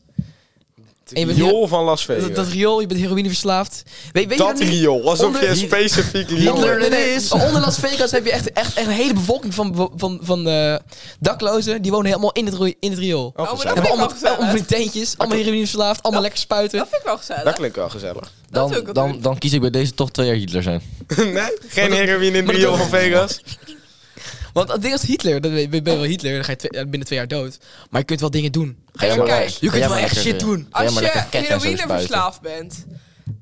Speaker 3: En je bent
Speaker 2: Riool
Speaker 3: heel-
Speaker 2: van Las Vegas.
Speaker 3: Dat, dat riool, je bent heroïne verslaafd. Weet, weet je
Speaker 2: Dat
Speaker 3: dat niet?
Speaker 2: riool, alsof
Speaker 3: Onder-
Speaker 2: je specifiek riool
Speaker 3: Hitler,
Speaker 2: hebt.
Speaker 3: nee, nee, Onder Las Vegas heb je echt, echt, echt een hele bevolking van, van, van eh, daklozen. Die wonen helemaal in het, riool- in het riool.
Speaker 2: Oh,
Speaker 1: Oh, maar
Speaker 2: gezellig.
Speaker 1: dat
Speaker 3: Hebben
Speaker 1: vind ik wel
Speaker 3: allemaal, allemaal van
Speaker 1: gezellig.
Speaker 3: die tentjes, allemaal heroïne verslaafd, allemaal lekker spuiten.
Speaker 1: Dat vind ik wel gezellig.
Speaker 2: Dat klinkt wel gezellig.
Speaker 1: is ook
Speaker 4: Dan,
Speaker 1: wat
Speaker 4: dan,
Speaker 1: leuk.
Speaker 4: dan kies ik bij deze toch twee jaar Hitler zijn.
Speaker 2: nee? Geen heroïne in
Speaker 3: maar
Speaker 2: het
Speaker 3: dat-
Speaker 2: riool van Vegas?
Speaker 3: Want het ding is Hitler, dan ben je ben je wel Hitler, dan ga je twee- ja, binnen twee jaar dood. Maar je kunt wel dingen doen.
Speaker 4: Ga jij
Speaker 1: Kijk,
Speaker 4: maar-
Speaker 1: kijk.
Speaker 4: ga
Speaker 3: Je
Speaker 4: jij
Speaker 3: kunt wel
Speaker 4: maar
Speaker 3: echt
Speaker 4: lekker,
Speaker 3: shit
Speaker 4: eh,
Speaker 3: doen.
Speaker 4: ga jij
Speaker 1: Als
Speaker 4: maar
Speaker 1: je
Speaker 4: lekker ketten en zo
Speaker 1: heroïne
Speaker 4: spuiten.
Speaker 1: verslaafd bent,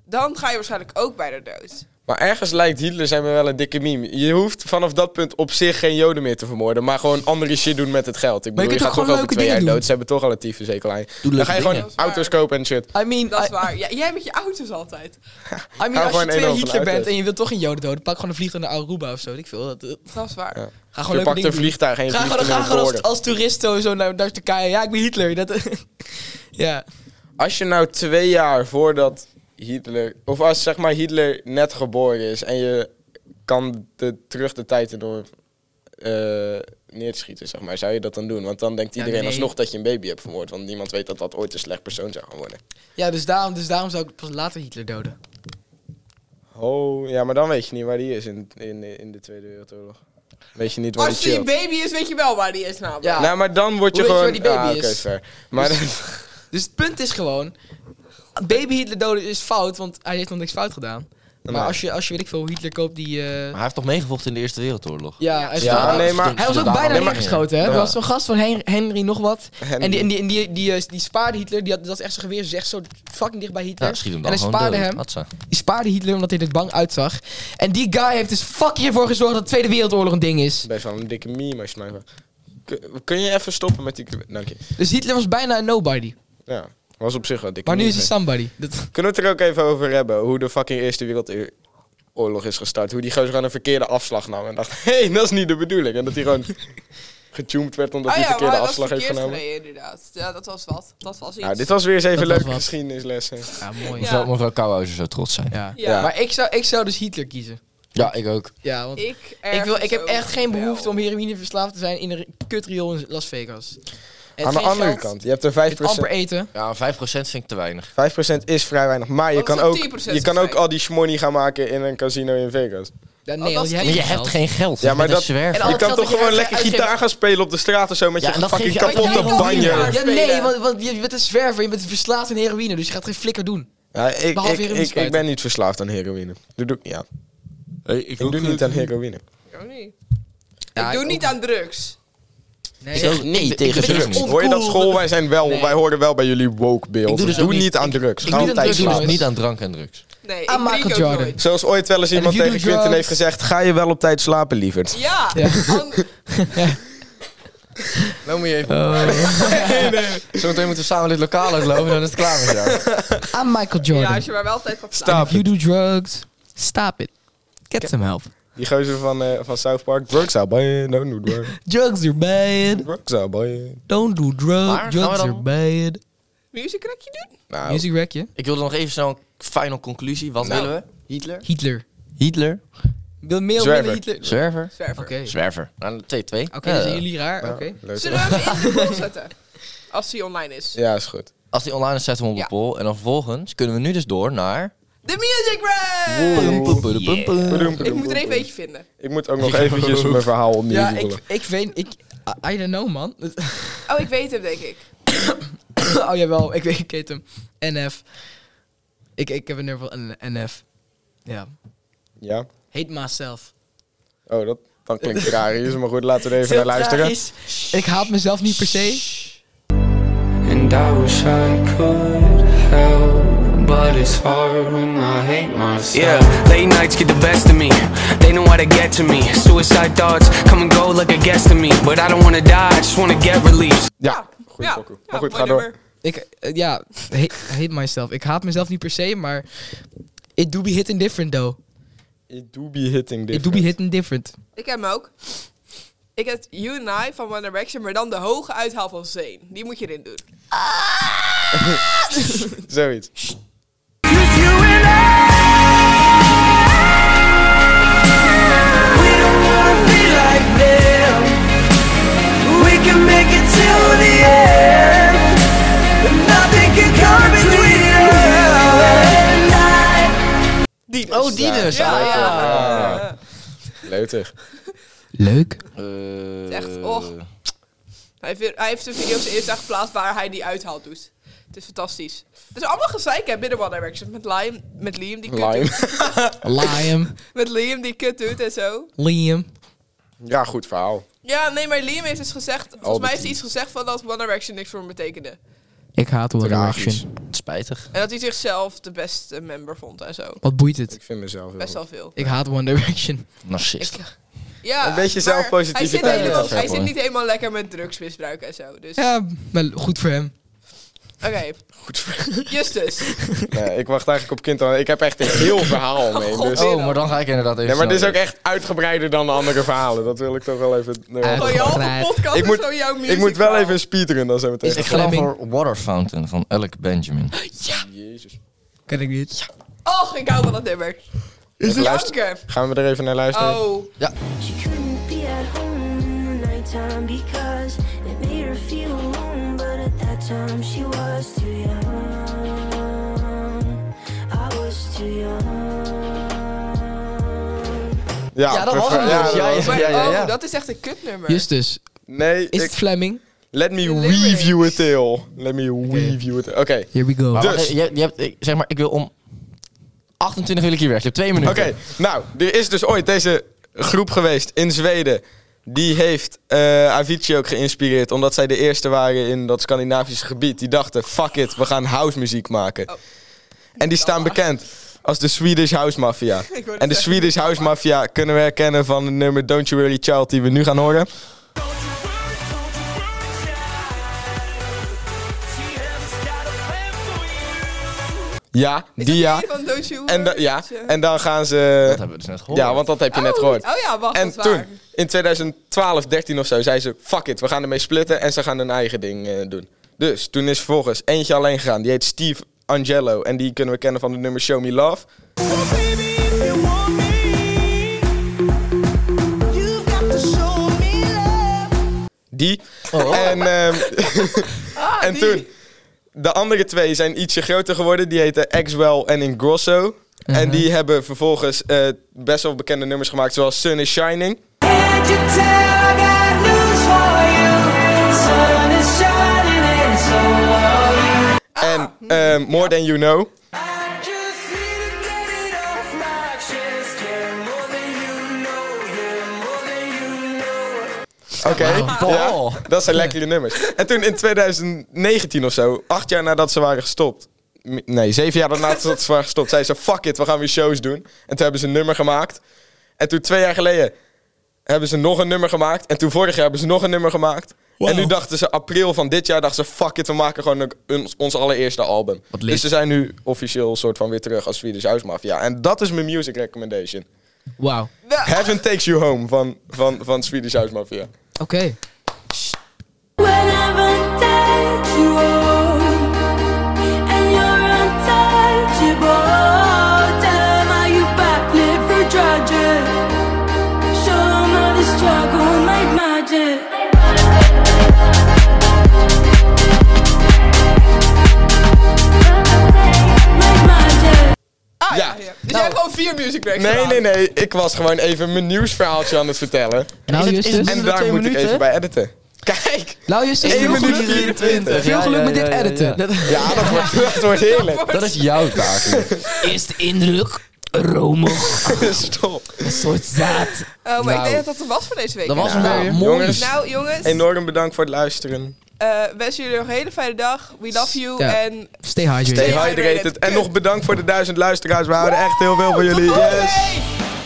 Speaker 1: dan ga je waarschijnlijk ook bij de dood.
Speaker 2: Maar ergens lijkt Hitler zijn we wel een dikke meme. Je hoeft vanaf dat punt op zich geen joden meer te vermoorden, maar gewoon andere shit doen met het geld. Ik
Speaker 3: Maar
Speaker 2: bedoel,
Speaker 3: je kunt ook
Speaker 2: gaat toch over
Speaker 3: gewoon leuke
Speaker 2: twee jaar
Speaker 3: dingen doen.
Speaker 2: dood. Ze hebben toch al een tyfus hekel aan je.
Speaker 4: Doe
Speaker 2: Dan
Speaker 4: leuke
Speaker 2: ga je
Speaker 4: dingen.
Speaker 2: gewoon
Speaker 1: Dat is waar.
Speaker 2: auto's kopen en shit.
Speaker 3: I mean,
Speaker 4: Ah,
Speaker 1: Dat is
Speaker 3: I-
Speaker 1: waar. Ja, jij met je auto's altijd.
Speaker 3: I mean, als
Speaker 2: gewoon
Speaker 3: je
Speaker 2: een
Speaker 3: twee
Speaker 2: enorm
Speaker 3: jaar
Speaker 2: van
Speaker 3: Hitler bent
Speaker 2: uitleven.
Speaker 3: en je wilt toch een joden doden, pak gewoon een vliegtuig naar Aruba of zo. weet Ik veel. Dat, dat-
Speaker 1: Dat is waar.
Speaker 2: Ja.
Speaker 3: ga gewoon
Speaker 2: Je
Speaker 3: leuke
Speaker 2: pakt
Speaker 3: dingen
Speaker 2: een
Speaker 3: doen.
Speaker 2: vliegtuig en je
Speaker 3: Ga
Speaker 2: vliegt
Speaker 3: gewoon,
Speaker 2: er
Speaker 3: ga
Speaker 2: naar
Speaker 3: gewoon als,
Speaker 2: voren.
Speaker 3: als toerist zo naar, naar Turkije. Ja, ik ben Hitler. Dat, ja.
Speaker 2: Als je nou twee jaar voordat Hitler... Of als zeg maar Hitler net geboren is en je kan de, terug de tijd in door eh, neer te schieten, zeg maar. Zou je dat dan doen? Want dan denkt
Speaker 3: Ja,
Speaker 2: iedereen
Speaker 3: nee.
Speaker 2: alsnog dat je een baby hebt vermoord. Want niemand weet dat dat ooit een slecht persoon zou gaan worden.
Speaker 3: ja dus, daarom, dus daarom zou ik pas later Hitler doden.
Speaker 2: Oh, ja, maar dan weet je niet waar die is in, in, in de Tweede Wereldoorlog. Weet je niet waar
Speaker 1: Als
Speaker 2: die
Speaker 1: je
Speaker 2: chillt.
Speaker 1: baby is, weet je wel waar die is namelijk.
Speaker 3: Ja.
Speaker 2: Nou, maar dan word je
Speaker 3: Hoe weet je
Speaker 2: gewoon...
Speaker 3: waar die baby
Speaker 2: ah, oké,
Speaker 3: is?
Speaker 2: fair. Maar
Speaker 3: Dus het punt is gewoon... Baby Hitler doden is fout, want hij heeft nog niks fout gedaan. Maar
Speaker 2: Nee.
Speaker 3: als, je, als je, weet ik veel, Hitler koopt die... eh,
Speaker 4: Maar hij heeft toch meegevochten in de Eerste Wereldoorlog?
Speaker 3: ja, hij is
Speaker 2: Ja,
Speaker 3: wel-
Speaker 2: nee, maar-
Speaker 3: Hij was ook bijna
Speaker 2: Nee, maar-
Speaker 3: neergeschoten, hè? Er
Speaker 2: Ja.
Speaker 3: was zo'n gast van Hen- Henry nog wat.
Speaker 2: Henry.
Speaker 3: En die, en die, en die, die, eh, die spaarde Hitler. Die had, dat is echt zijn geweer. Ze is echt zo fucking dicht bij Hitler.
Speaker 4: Ja, schiet hem
Speaker 3: en
Speaker 4: dan
Speaker 3: hij
Speaker 4: gewoon
Speaker 3: spaarde
Speaker 4: dood.
Speaker 3: hem.
Speaker 4: Hatsa.
Speaker 3: Die spaarde Hitler omdat hij er bang uitzag. En die guy heeft dus fucking ervoor gezorgd dat de Tweede Wereldoorlog een ding is.
Speaker 2: best wel een dikke meme als je mij... vraagt. Kun- Kun je even stoppen met die... Dank je.
Speaker 3: Dus Hitler was bijna een nobody.
Speaker 2: Ja, was op zich wel een dikke
Speaker 3: Maar nu
Speaker 2: meme.
Speaker 3: is hij somebody. Dat,
Speaker 2: Kunnen we het er ook even over hebben? Hoe de fucking Eerste Wereldoorlog is gestart. Hoe die gozer gewoon een verkeerde afslag nam. En dacht, hé, hey, dat is niet de bedoeling. En dat hij gewoon getuned werd omdat
Speaker 1: Ah
Speaker 2: hij
Speaker 1: ja,
Speaker 2: de verkeerde
Speaker 1: maar hij was
Speaker 2: afslag heeft
Speaker 1: verkeerd
Speaker 2: genomen.
Speaker 1: gereden, inderdaad. Ja, dat was wat. Dat was iets.
Speaker 2: Nou, dit was weer eens even
Speaker 3: Dat was
Speaker 2: leuke
Speaker 3: wat.
Speaker 2: geschiedenislessen.
Speaker 3: ja, mooi.
Speaker 4: Ik
Speaker 1: Ja.
Speaker 4: zou dat mevrouw Kouwhuizen zo trots zijn.
Speaker 3: Ja.
Speaker 1: Ja.
Speaker 2: Ja.
Speaker 3: Maar ik zou, ik zou dus Hitler kiezen.
Speaker 4: Ja, ik ook.
Speaker 3: Ja, want ik,
Speaker 1: Ik, ergens
Speaker 3: wil, ik heb
Speaker 1: ook
Speaker 3: echt geen behoefte
Speaker 1: wel.
Speaker 3: om heroïne verslaafd te zijn in een kutriool in Las Vegas. En
Speaker 2: Aan de
Speaker 3: geen
Speaker 2: andere
Speaker 3: geld,
Speaker 2: kant, je hebt er 5%.
Speaker 3: het amper eten.
Speaker 4: Ja, 5% vind ik te weinig.
Speaker 2: 5% is vrij weinig, maar je
Speaker 1: Wat
Speaker 2: kan,
Speaker 1: zou
Speaker 2: ook,
Speaker 1: 10%
Speaker 2: je kan ook
Speaker 1: zijn?
Speaker 2: al die shmoney gaan maken in een casino in Vegas.
Speaker 3: Ja, nee,
Speaker 1: Oh, dat
Speaker 3: want
Speaker 1: is
Speaker 3: je
Speaker 1: niet-
Speaker 3: hebt,
Speaker 4: Maar je
Speaker 3: geen
Speaker 4: hebt
Speaker 3: geld.
Speaker 4: geen geld.
Speaker 2: Ja,
Speaker 4: Je
Speaker 2: maar
Speaker 4: bent
Speaker 2: dat-
Speaker 4: een zwerver.
Speaker 3: En
Speaker 2: Je
Speaker 3: al- het
Speaker 2: kan
Speaker 3: geld
Speaker 2: toch
Speaker 3: dat je
Speaker 2: gewoon
Speaker 3: uitge-
Speaker 2: lekker
Speaker 3: uitgeeft-
Speaker 2: gitaar gaan spelen op de straat of zo met
Speaker 4: Ja, en
Speaker 2: je
Speaker 4: dat
Speaker 2: fucking
Speaker 4: geef je uit-
Speaker 2: kapotte
Speaker 1: Maar jij wil
Speaker 2: banjo.
Speaker 1: niet
Speaker 3: Ja,
Speaker 1: spelen.
Speaker 3: nee, want, want je bent een zwerver. Je bent verslaafd aan heroïne, dus je gaat geen flikker doen.
Speaker 2: Ja, ik,
Speaker 3: Behalve
Speaker 2: ik,
Speaker 3: heroïne
Speaker 2: ik, ik
Speaker 3: spuiten.
Speaker 2: ben niet verslaafd aan heroïne. Dat doe ik, ja.
Speaker 4: Hey, ik
Speaker 2: ik doe niet aan heroïne.
Speaker 1: Ik ook niet.
Speaker 3: Ja,
Speaker 1: Oh, ik doe
Speaker 3: ik
Speaker 1: niet aan drugs.
Speaker 3: Nee,
Speaker 4: ook niet tegen
Speaker 3: drugs.
Speaker 4: drugs.
Speaker 2: Hoor je dat school? Wij, zijn wel, wij horen wel bij jullie woke beeld.
Speaker 4: Ik
Speaker 2: Doe,
Speaker 4: doe dus ook
Speaker 2: niet
Speaker 4: niet.
Speaker 2: aan drugs.
Speaker 3: ik
Speaker 2: Ga
Speaker 3: doe
Speaker 2: op
Speaker 3: dat
Speaker 2: tijd
Speaker 3: dus
Speaker 2: slapen.
Speaker 3: niet.
Speaker 4: niet aan drank en drugs.
Speaker 1: Nee, ik
Speaker 3: Aan
Speaker 1: drink
Speaker 3: Ah, Michael
Speaker 1: ook
Speaker 3: Jordan.
Speaker 1: nooit.
Speaker 2: Zoals ooit wel eens iemand
Speaker 3: you do
Speaker 2: tegen Quinten
Speaker 3: drugs-
Speaker 2: heeft gezegd... ga je wel op tijd slapen, lieverd.
Speaker 1: Ja,
Speaker 3: Ja.
Speaker 1: an-
Speaker 4: Nou moet je even... Zometeen moeten we samen dit lokaal uitlopen en dan is het klaar met jou.
Speaker 3: I'm Michael
Speaker 1: ja,
Speaker 3: Jordan.
Speaker 1: als je maar wel altijd gaat slapen.
Speaker 2: Stop.
Speaker 3: you do drugs, stop it. Get some help.
Speaker 2: Die gozer van, eh, van South Park. Drugs are bad, don't do drugs.
Speaker 3: Drugs are bad.
Speaker 2: Drugs are bad.
Speaker 3: Don't do drugs.
Speaker 4: Maar gaan we
Speaker 3: drugs
Speaker 4: dan-
Speaker 3: are bad.
Speaker 1: Music crackje doen?
Speaker 2: Nou,
Speaker 3: Music rackje.
Speaker 4: Ik wilde nog even snel een final conclusie. Wat
Speaker 2: Nou.
Speaker 4: willen we? Hitler?
Speaker 3: Hitler.
Speaker 4: Hitler?
Speaker 3: Wil meer of
Speaker 2: Zwerver.
Speaker 3: minder Hitler? Oké.
Speaker 4: Zwerver?
Speaker 1: Zwerver.
Speaker 3: Oké,
Speaker 4: Zwerver. Nou, 2-2.
Speaker 3: dan
Speaker 2: dus
Speaker 3: zijn jullie raar. Oké.
Speaker 2: leuk.
Speaker 1: Zullen we hem in de poll zetten? Als hij online is.
Speaker 2: Ja, is goed.
Speaker 4: Als die online is, zetten we hem
Speaker 1: Ja.
Speaker 4: op de poll. En dan vervolgens kunnen we nu dus door naar...
Speaker 1: De Music Rap!
Speaker 2: Woe. Bedoem,
Speaker 1: Ik
Speaker 2: bedoem,
Speaker 1: moet er
Speaker 2: bedoem.
Speaker 1: even eentje vinden.
Speaker 2: Ik moet ook nog eventjes mijn verhaal opnieuw
Speaker 3: Ja,
Speaker 2: googlen.
Speaker 3: ik, ik weet... Ik, I I don't know, man.
Speaker 1: Oh, ik weet hem, denk ik.
Speaker 3: oh, jawel. Ik weet, ik weet hem. NF. Ik, ik heb een nerve van NF. Ja.
Speaker 2: Ja?
Speaker 3: Hate myself.
Speaker 2: Oh, dat dan klinkt het raar. Hier is maar goed, laten we er even naar
Speaker 3: Heel
Speaker 2: luisteren.
Speaker 3: tragisch. Ik haat mezelf niet per se.
Speaker 6: And I wish I could help, but it's hard when I hate myself.
Speaker 7: Yeah, late nights get the best of me. They know how to get to me. Suicide thoughts come and go like a guest to me. But I don't wanna die, I just wanna get released.
Speaker 2: Ja, goed
Speaker 1: ja.
Speaker 2: pokoe.
Speaker 1: Ja,
Speaker 2: Maar goed,
Speaker 1: mooi
Speaker 2: ga door.
Speaker 1: nummer.
Speaker 3: Ik, eh, ja, hate, hate myself. Ik haat mezelf niet per se, maar... It do be hit and different, though.
Speaker 2: It do be hitting
Speaker 3: Ik
Speaker 2: different.
Speaker 3: doe be hitting different.
Speaker 1: Ik heb hem ook. Ik heb You and I van One Direction, maar dan de hoge uithaal van Zane. Die moet je erin doen.
Speaker 2: Zoiets.
Speaker 4: Oh, die dus.
Speaker 1: Ja, ja.
Speaker 2: Ah. Leutig.
Speaker 3: Leuk.
Speaker 4: Eh,
Speaker 1: Echt, och. Hij, heeft, hij heeft een video op zijn Insta geplaatst waar hij die uithaal doet. Het is fantastisch. Het is allemaal gezeik hè, binnen One Direction. Met Liam, met Liam die kut doet.
Speaker 2: Lime.
Speaker 3: Liam.
Speaker 1: Met Liam die kut doet en zo.
Speaker 3: Liam.
Speaker 2: Ja, goed verhaal.
Speaker 1: Ja, nee, maar Liam heeft dus gezegd... Volgens mij heeft hij
Speaker 2: Team.
Speaker 1: iets gezegd van dat One Direction niks voor hem betekende.
Speaker 3: Ik haat One
Speaker 2: Tragisch.
Speaker 3: Direction.
Speaker 4: Spijtig.
Speaker 1: En dat hij zichzelf de beste member vond en zo.
Speaker 3: Wat boeit het?
Speaker 2: Ik vind mezelf heel
Speaker 1: Best
Speaker 2: goed.
Speaker 1: wel veel.
Speaker 3: Ik haat One Direction.
Speaker 4: Narcist.
Speaker 1: Ja,
Speaker 2: Een beetje
Speaker 1: maar
Speaker 2: zelfpositiviteit
Speaker 1: Hij, zit, helemaal,
Speaker 4: is
Speaker 1: hij
Speaker 4: wel
Speaker 1: zit
Speaker 4: mooi.
Speaker 1: niet helemaal lekker met drugsmisbruik en zo. Dus,
Speaker 3: Ja, maar goed voor hem.
Speaker 1: oké. Justus.
Speaker 2: Nee, ik wacht eigenlijk op kind. Ik heb echt een heel verhaal mee. Dus...
Speaker 4: Oh, maar dan ga ik inderdaad even.
Speaker 2: Nee, maar dit is ook
Speaker 4: sneller.
Speaker 2: echt uitgebreider dan de andere verhalen. Dat wil ik toch wel even... nee.
Speaker 3: Eigenlijk-
Speaker 1: Van je halve
Speaker 3: Begrijp.
Speaker 1: podcast
Speaker 2: Ik
Speaker 1: is
Speaker 2: moet-
Speaker 1: gewoon Oh, jouw music.
Speaker 2: ik moet wel even een speedrun dan zijn we
Speaker 3: Is
Speaker 2: tegen.
Speaker 4: Ik ga dan
Speaker 3: Fleming.
Speaker 4: voor Water Fountain van Alec Benjamin.
Speaker 2: Jezus.
Speaker 3: Ken ik niet.
Speaker 1: Och, ik hou van dat nummer.
Speaker 2: Even luisteren.
Speaker 1: Janken.
Speaker 2: Gaan we er even naar luisteren?
Speaker 1: Oh.
Speaker 8: She couldn't be at home in the nighttime because it made her feel alone. But at that time, she was too young. I was too young.
Speaker 2: Ja,
Speaker 3: Ja, dat was
Speaker 2: prefer-
Speaker 3: hem dus. Ja,
Speaker 2: was
Speaker 1: Maar,
Speaker 2: hem.
Speaker 1: oh, dat is echt een kutnummer.
Speaker 3: Justus,
Speaker 2: Nee,
Speaker 3: is
Speaker 2: ik-
Speaker 3: het Fleming?
Speaker 2: let me
Speaker 1: lyrics.
Speaker 2: weave you a tale. Let me weave you a tale. Oké,
Speaker 3: Here we go.
Speaker 4: Maar wacht,
Speaker 2: Dus.
Speaker 4: je, je hebt, ik- zeg maar, ik wil om 28 wil ik hier weg. Je hebt twee minuten.
Speaker 2: oké. Nou, er is dus ooit deze groep geweest in Zweden. Die heeft eh, Avicii ook geïnspireerd. Omdat zij de eerste waren in dat Scandinavische gebied. Die dachten, fuck it, we gaan housemuziek maken.
Speaker 1: Oh.
Speaker 2: En die staan bekend als de Swedish House Mafia.
Speaker 1: Ik wou net
Speaker 2: En de
Speaker 1: zeggen.
Speaker 2: Swedish House Mafia kunnen we herkennen van het nummer Don't You Really Child die we nu gaan horen. Ja,
Speaker 1: Is
Speaker 2: die
Speaker 1: dat
Speaker 2: ja.
Speaker 1: die Van Don't You
Speaker 2: En, da-
Speaker 1: Worry?
Speaker 2: ja. en dan gaan ze...
Speaker 4: Dat hebben we dus net gehoord.
Speaker 2: Ja, want dat heb je net
Speaker 1: Oh,
Speaker 2: gehoord.
Speaker 1: Oh ja, wacht,
Speaker 2: En
Speaker 1: dat is waar.
Speaker 2: toen, in 2012, 13 of zo, zei ze: Fuck it, we gaan ermee splitten en ze gaan hun eigen ding eh, doen. Dus toen is vervolgens eentje alleen gegaan. Die heet Steve Angelo en die kunnen we kennen van het nummer Show Me Love. Die.
Speaker 4: Oh.
Speaker 2: En, ehm,
Speaker 1: Ah,
Speaker 2: en
Speaker 1: die.
Speaker 2: toen, de andere twee zijn ietsje groter geworden. Die heten Axwell en Ingrosso.
Speaker 4: Mhm.
Speaker 2: En die hebben vervolgens eh, best wel bekende nummers gemaakt, zoals Sun is Shining.
Speaker 1: Ah,
Speaker 2: En
Speaker 1: hmm.
Speaker 2: ehm, More Than You Know. Oké,
Speaker 4: Wow.
Speaker 2: ja, dat zijn lekkere nummers. En toen in 2019 of zo, acht jaar nadat ze waren gestopt. m- Nee, zeven jaar nadat ze waren gestopt, zei ze: Fuck it, we gaan weer shows doen. En toen hebben ze een nummer gemaakt. En toen twee jaar geleden hebben ze nog een nummer gemaakt. En toen vorig jaar hebben ze nog een nummer gemaakt. En nu dachten ze, april van dit jaar, dachten ze: Fuck it, we maken gewoon een- een- ons allereerste album.
Speaker 4: lief.
Speaker 2: Dus ze zijn nu officieel soort van weer terug als Swedish House Mafia. En dat is mijn music recommendation:
Speaker 3: Wauw.
Speaker 1: Nou,
Speaker 2: Heaven Takes You Home van, van, van Swedish House Mafia.
Speaker 3: Oké.
Speaker 8: Whenever take you home and you're untouchable, tell 'em how you backflip for tragic. Show 'em how the struggle made magic. Made magic.
Speaker 1: ah, ja.
Speaker 2: Ja. Nou.
Speaker 1: ja. Dus jij hebt gewoon vier music tracks
Speaker 2: Nee,
Speaker 1: gedaan.
Speaker 2: nee, nee. Ik was gewoon even mijn nieuwsverhaaltje aan het vertellen.
Speaker 3: Nou,
Speaker 4: het- is
Speaker 3: Justus.
Speaker 4: het-
Speaker 2: En
Speaker 4: de
Speaker 2: daar
Speaker 4: twee
Speaker 2: moet ik
Speaker 4: minuten?
Speaker 2: even bij editen. Kijk!
Speaker 3: Nou, Justus,
Speaker 2: 1
Speaker 3: veel
Speaker 2: minuut
Speaker 3: geluk,
Speaker 2: 24.
Speaker 3: veel geluk met dit editen. Dat-
Speaker 2: Ja, dat wordt, dat wordt heerlijk.
Speaker 4: Dat is jouw taak.
Speaker 5: Eerste indruk, romig,
Speaker 2: Stop.
Speaker 5: een soort zaad.
Speaker 1: Oh, maar ik
Speaker 4: Nou.
Speaker 1: denk dat dat het was voor deze week.
Speaker 4: Dat was hem
Speaker 2: Nou,
Speaker 4: weer.
Speaker 2: jongens.
Speaker 1: Nou, jongens.
Speaker 2: Enorm bedankt voor het luisteren.
Speaker 1: eh, wensen jullie nog een hele fijne dag. We love you.
Speaker 3: Ja.
Speaker 1: En
Speaker 3: Stay hydrated.
Speaker 2: Stay hydrated. En nog bedankt voor de duizend luisteraars. We houden echt heel veel van jullie.
Speaker 1: tot volgende
Speaker 2: Yes!
Speaker 1: week.